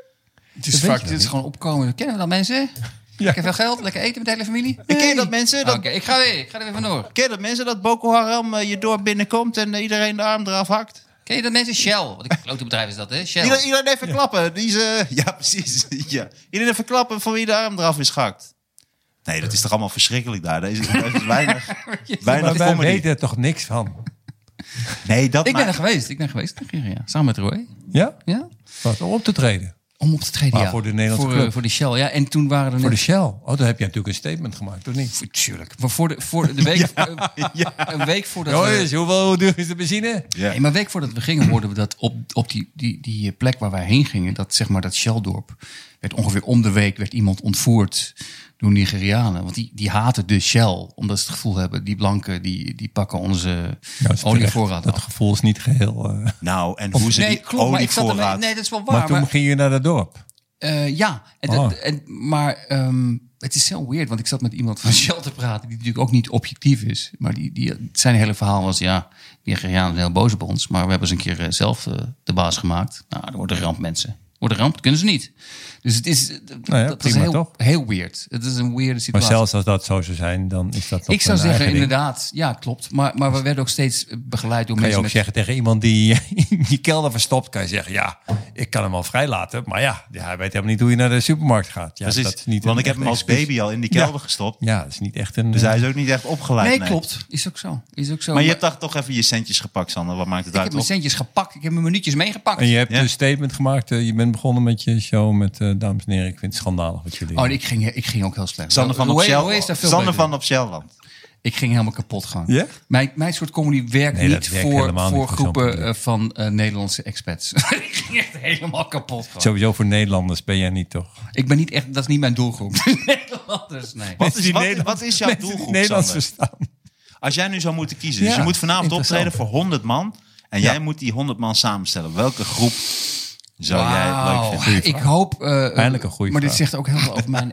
Het is, vaak, dit is gewoon opkomen. Kennen we dat mensen? Lekker veel geld, lekker eten met de hele familie.
Ik ken dat mensen,
Oké,
dat,
ik ga weer. Ik ga er weer vandoor.
ken dat, mensen dat Boko Haram eh, je door binnenkomt en eh, iedereen de arm eraf hakt?
Ken je dat mensen? Shell. Wat een klote bedrijf is dat, hè? Shell.
Ieder- iedereen even klappen. Die is, eh, ja, precies. ja. Iedereen even klappen van wie de arm eraf is gehakt. Nee, dat is toch allemaal verschrikkelijk daar. Daar is, daar is weinig, weinig
Maar wij
comedy.
weten er toch niks van.
Nee, dat
ik ben
maakt-
er geweest. Ik ben geweest in Nigeria. Samen met Roy.
Ja?
Ja?
Wat, om op te treden.
Om op te treden,
Maar
ja.
voor de Nederlandse
voor,
club.
eh, voor de Shell, ja. En toen waren er
Voor de
net-
Shell. Oh, daar heb je natuurlijk een statement gemaakt, of niet?
Voor- Tuurlijk. Maar voor de, voor de week... eh, Een week voordat we...
Jongens, hoeveel, hoe duur is de benzine?
Ja.
Nee, maar een week voordat we gingen, hoorden we dat op, op die, die, die eh, plek waar wij heen gingen, dat zeg maar dat Sheldorp, werd ongeveer om de week werd iemand ontvoerd door Nigerianen. Want die, die haten de Shell, omdat ze het gevoel hebben, die blanken, die, die pakken onze
Nou, dat is
olievoorraad
terecht. Dat
af.
gevoel is niet geheel... eh,
Nou, en hoe ze
Nee,
die
klopt, maar ik zat
olievoorraad...
ermee, nee, dat is wel waar.
Maar toen
maar-
ging je naar dat dorp.
eh, ja, en dat-
Oh.
en, maar ehm, het is zo weird, want ik zat met iemand van Shell te praten, die natuurlijk ook niet objectief is. Maar die, die, zijn hele verhaal was, ja, die Nigerianen zijn heel boos op ons, maar we hebben ze een keer eh, zelf eh, de baas gemaakt. Nou, er wordt een ramp, mensen. Wordt een ramp, dat kunnen ze niet. Dus het is, eh,
Nou ja,
dat is
prima,
heel,
toch?
heel weird. Het is een weirde
Maar
situatie.
zelfs als dat zo zou zijn, dan is dat toch
ik zou
een
zeggen,
eigen ding.
inderdaad, ja, klopt. Maar, maar we werden ook steeds eh, begeleid door
Kan je
mensen
ook
met...
zeggen tegen iemand die in die kelder verstopt, kan je zeggen, ja, ik kan hem al vrijlaten. Maar ja, ja, hij weet helemaal niet hoe je naar de supermarkt gaat. Ja,
Precies,
dat is niet
want
een
ik heb
echt
hem als
excuus.
baby al in die kelder gestopt.
Ja, dat is niet echt een...
Dus hij is ook niet echt opgeleid.
Nee, klopt. Is ook zo. Is ook zo.
Maar je hebt daar toch even je centjes gepakt, Sander. Wat maakt het
ik heb
uit,
mijn
toch?
centjes gepakt, ik heb mijn minuutjes meegepakt.
En je hebt
Ja.
een statement gemaakt. eh, je bent begonnen met je show met eh, dames en heren, ik vind het schandalig wat jullie
Oh,
doen.
ik ging, ik ging ook heel slecht.
Sander van
Hoe
op
heet- hoe heet dat
Shell-
veel
Sander
beter?
van op Shellland.
Ik ging helemaal kapot gaan.
Ja?
Mijn, mijn soort comedy werkt
Nee, dat
niet
werkt
voor,
helemaal
voor
niet voor zo'n
groepen
publiek.
eh, van eh, Nederlandse expats. ik ging echt helemaal kapot gaan.
Sowieso voor Nederlanders ben jij niet toch?
Nou,
Ik ben niet echt, dat is niet mijn doelgroep. Nederlanders, nee.
Wat is,
die
wat,
Nederland-
wat is jouw
Mensen die
doelgroep,
Nederlands
Sander?
verstaan.
Als jij nu zou moeten kiezen,
Ja,
dus je moet vanavond
interessant.
optreden voor 100 man. En jij moet die 100 man samenstellen. Welke groep zou jij leuk
Wauw.
vinden?
Ik hoop... eh,
Eindelijk een goede
Maar dit
vraag.
zegt ook heel veel over mijn,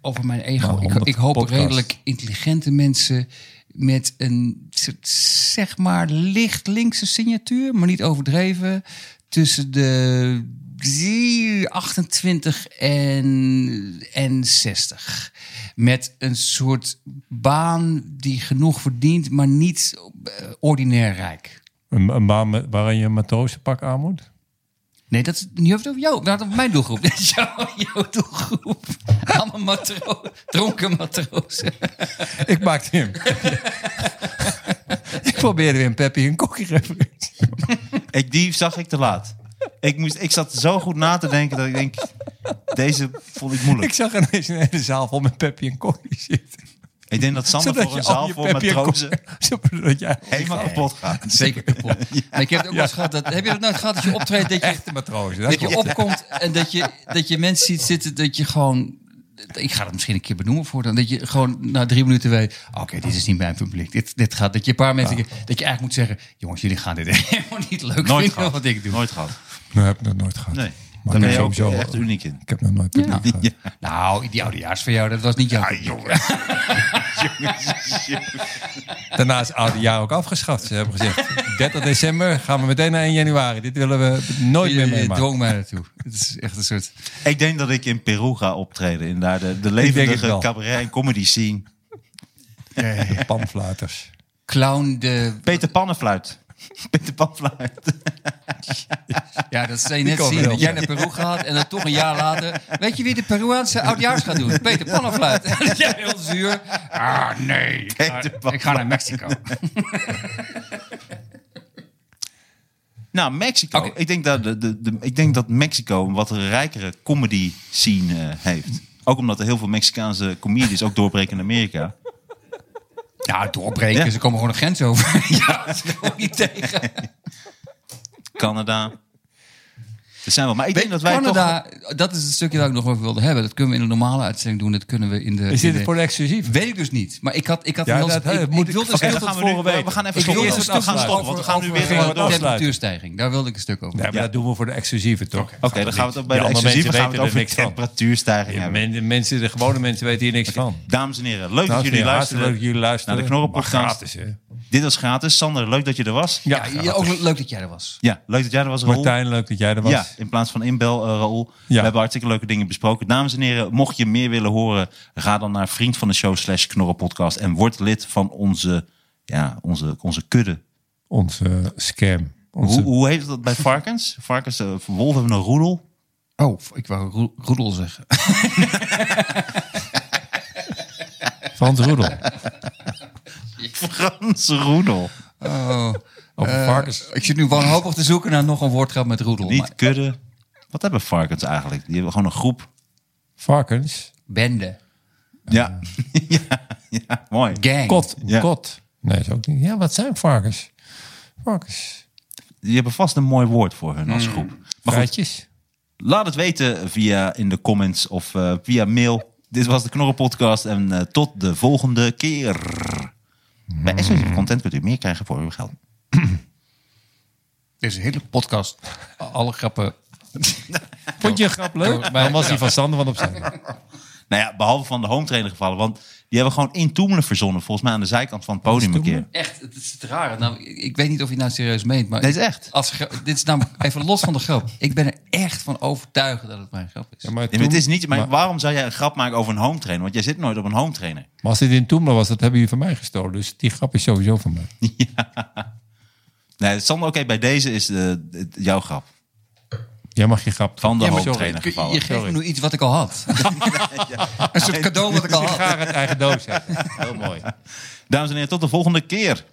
over mijn ego.
Nou,
Ik,
100
ik hoop
podcast.
redelijk intelligente mensen met een soort, zeg maar licht linkse signatuur, maar niet overdreven. Tussen de 28 en, en 60. Met een soort baan die genoeg verdient, maar niet eh, ordinair rijk.
Een, een baan met- waarin je een matrozenpak aan moet?
Nee, dat is niet over jou. Dat is mijn doelgroep. Dat is jouw, jouw doelgroep. Allemaal matro dronken matrozen.
Ik maakte hem. ik probeerde weer een Peppy een kokkie referentie.
Ik, die zag ik te laat. Ik, moest, ik zat zo goed na te denken dat ik denk, deze vond ik moeilijk.
Ik
Ik,
zag ineens een hele zaal vol met Peppy en kokkie zitten.
denk dat Sander voor een zaal vol
Peppy en
matrozen
Kokkie- Zodat jij
helemaal kapot gaat.
Zeker kapot. Maar ik heb het ook wel eens gehad. Dat, heb je dat nooit gehad dat je optreedt, dat je,
echte matrozen.
dat je opkomt en dat je, dat je mensen ziet zitten dat je gewoon... Ik ga het misschien een keer benoemen voor dan. Dat je gewoon na drie minuten weet... Oké, dit is niet mijn publiek. Dit, dit gaat, dat je een paar mensen... Dat je eigenlijk moet zeggen... Jongens, jullie gaan dit helemaal niet leuk
Nooit
vinden
gehad.
wat ik doe.
Nooit gehad.
Nee, Nou, heb ik nog nooit gehad.
Nee.
Maar
Daar ben
ik
je
heb
ook
sowieso-
echt uniek in.
Ik heb nog nooit Peppy gehad.
Nou, die oudejaars voor jou, dat was niet jouw publiek.
Daarna is oude jaar ook afgeschaft. Ze hebben gezegd, 30 december gaan we meteen naar 1 januari. Dit willen we nooit
Je-
meer
je
meemaken.
dwong mij naartoe. Het is echt een soort...
Ik denk dat ik in Peru ga optreden. In daar de, de
het wel.
levendige cabaret en comedy scene.
De panfluiters.
Clown de...
Peter Pannenfluit. Peter Panfluit.
Ja, dat zei je net
komen
zien.
wel.
Dat jij naar Peru gaat en dan toch een jaar later... Weet je wie de Peruaanse oudjaars gaat doen? Peter Pannenfluit. Dat jij heel zuur. Ah, nee.
Peter
Ik ga naar Mexico.
Nou, Mexico.
Oké.
Ik, denk dat de, de, de- ik denk dat Mexico een wat rijkere comedy scene eh, heeft. Ook omdat er heel veel Mexicaanse comedies ook doorbreken in Amerika.
Ja, doorbreken.
Ja.
Ze komen gewoon de grens over. Ja, ze komen niet tegen.
Canada. Er zijn wel. Maar ik denk dat wij toch...
Canada, dat is het stukje dat ik nog over wilde hebben. Dat kunnen we in een normale uitzending doen. Dat kunnen we in de...
Is
in
dit
de-
voor de exclusief?
Weet ik dus niet. Maar ik had, ik had
Ja,
een heel-
dat- dat
ik,
moet
ik
ik-
wilde
oké,
een
Oké,
heel
dan
van
gaan dus we, nu,
tevoren
we,
weten.
gaan even
Ik wil
stoppen.
eerst
We
het
dus gaan stoppen,
afsluiten.
want we gaan nu weer
over
door. Oké,
temperatuurstijging. Daar wilde ik een stuk over.
Nee, maar dat doen we voor de exclusieve, toch?
dan gaan we het ook bij
Ja, andere
de exclusieve
mensen
gaan we
weten
het over
er niks van.
temperatuurstijging
Ja,
hebben.
men- de mensen, de gewone mensen weten hier niks van.
Dames en heren, leuk
Nou,
dat
hartstikke
jullie luisteren.
leuk dat jullie luisteren.
Naar de Knorren
Maar
podcast.
gratis, hè?
Dit was gratis. Sander, leuk dat je er was. Ja,
Ja, ja, ook leuk dat jij er was.
leuk dat jij er was, Roel.
Martijn, leuk dat jij er was.
Ja, in plaats van inbel, eh Raoul.
Ja.
We hebben hartstikke leuke dingen besproken. Dames en heren, mocht je meer willen horen... ga dan naar vriend van de show slash knorrenpodcast... en word lid van onze, ja, onze, onze kudde.
Onze eh, scam. Onze
Hoe, hoe heet dat bij varkens? Varkens, eh, wolven hebben een roedel.
Oh, ik wou roe- roedel zeggen.
Frans Roedel.
Franse roedel.
Over
Eh,
varkens.
Eh, Ik zit nu wanhopig te zoeken naar nog een woordgrap met roedel. maar-
Niet kudde. Wat hebben varkens eigenlijk? Die hebben gewoon een groep.
Varkens.
Bende.
Ja, ja, ja mooi.
Gang.
Kot.
Ja.
Kot. Nee, is ook niet. Ja, wat zijn varkens? Varkens.
Die hebben vast een mooi woord voor hun als groep. Hmm. Maar goed,
Praatjes.
Laat het weten via in de comments of eh, via mail. Dit was de Knorrenpodcast en eh, tot de volgende keer. Bij exclusieve content kunt u meer krijgen voor uw geld.
Deze hele podcast. Alle grappen.
Vond je een grap leuk? Dan was die van Sander van Opzij.
Nou ja, behalve van de home trainer gevallen. Want die hebben gewoon in Toemelen verzonnen. Volgens mij aan de zijkant van het podium een keer.
Echt, het is het rare. Nou, ik, ik weet niet of je het nou serieus meent, maar...
Nee, het is echt.
Als gra- dit is namelijk even los van de grap. Ik ben er echt van overtuigd dat het mijn grap is.
maar,
Ja, maar het is niet, maar waarom zou jij een grap maken over een home trainer? Want jij zit nooit op een home trainer.
maar als dit in Toemler was, dat hebben jullie van mij gestolen. Dus die grap is sowieso van mij.
Nee, Sander, oké, bij deze is de, de- jouw grap.
Jij mag je grap.
Van de
Ja, maar
home
sorry.
trainer
Je,
gevallen.
je geeft me nu iets wat ik al had. Een soort cadeau wat ik al had.
Graag het eigen doos hebben. Heel mooi.
Dames en heren, tot de volgende keer.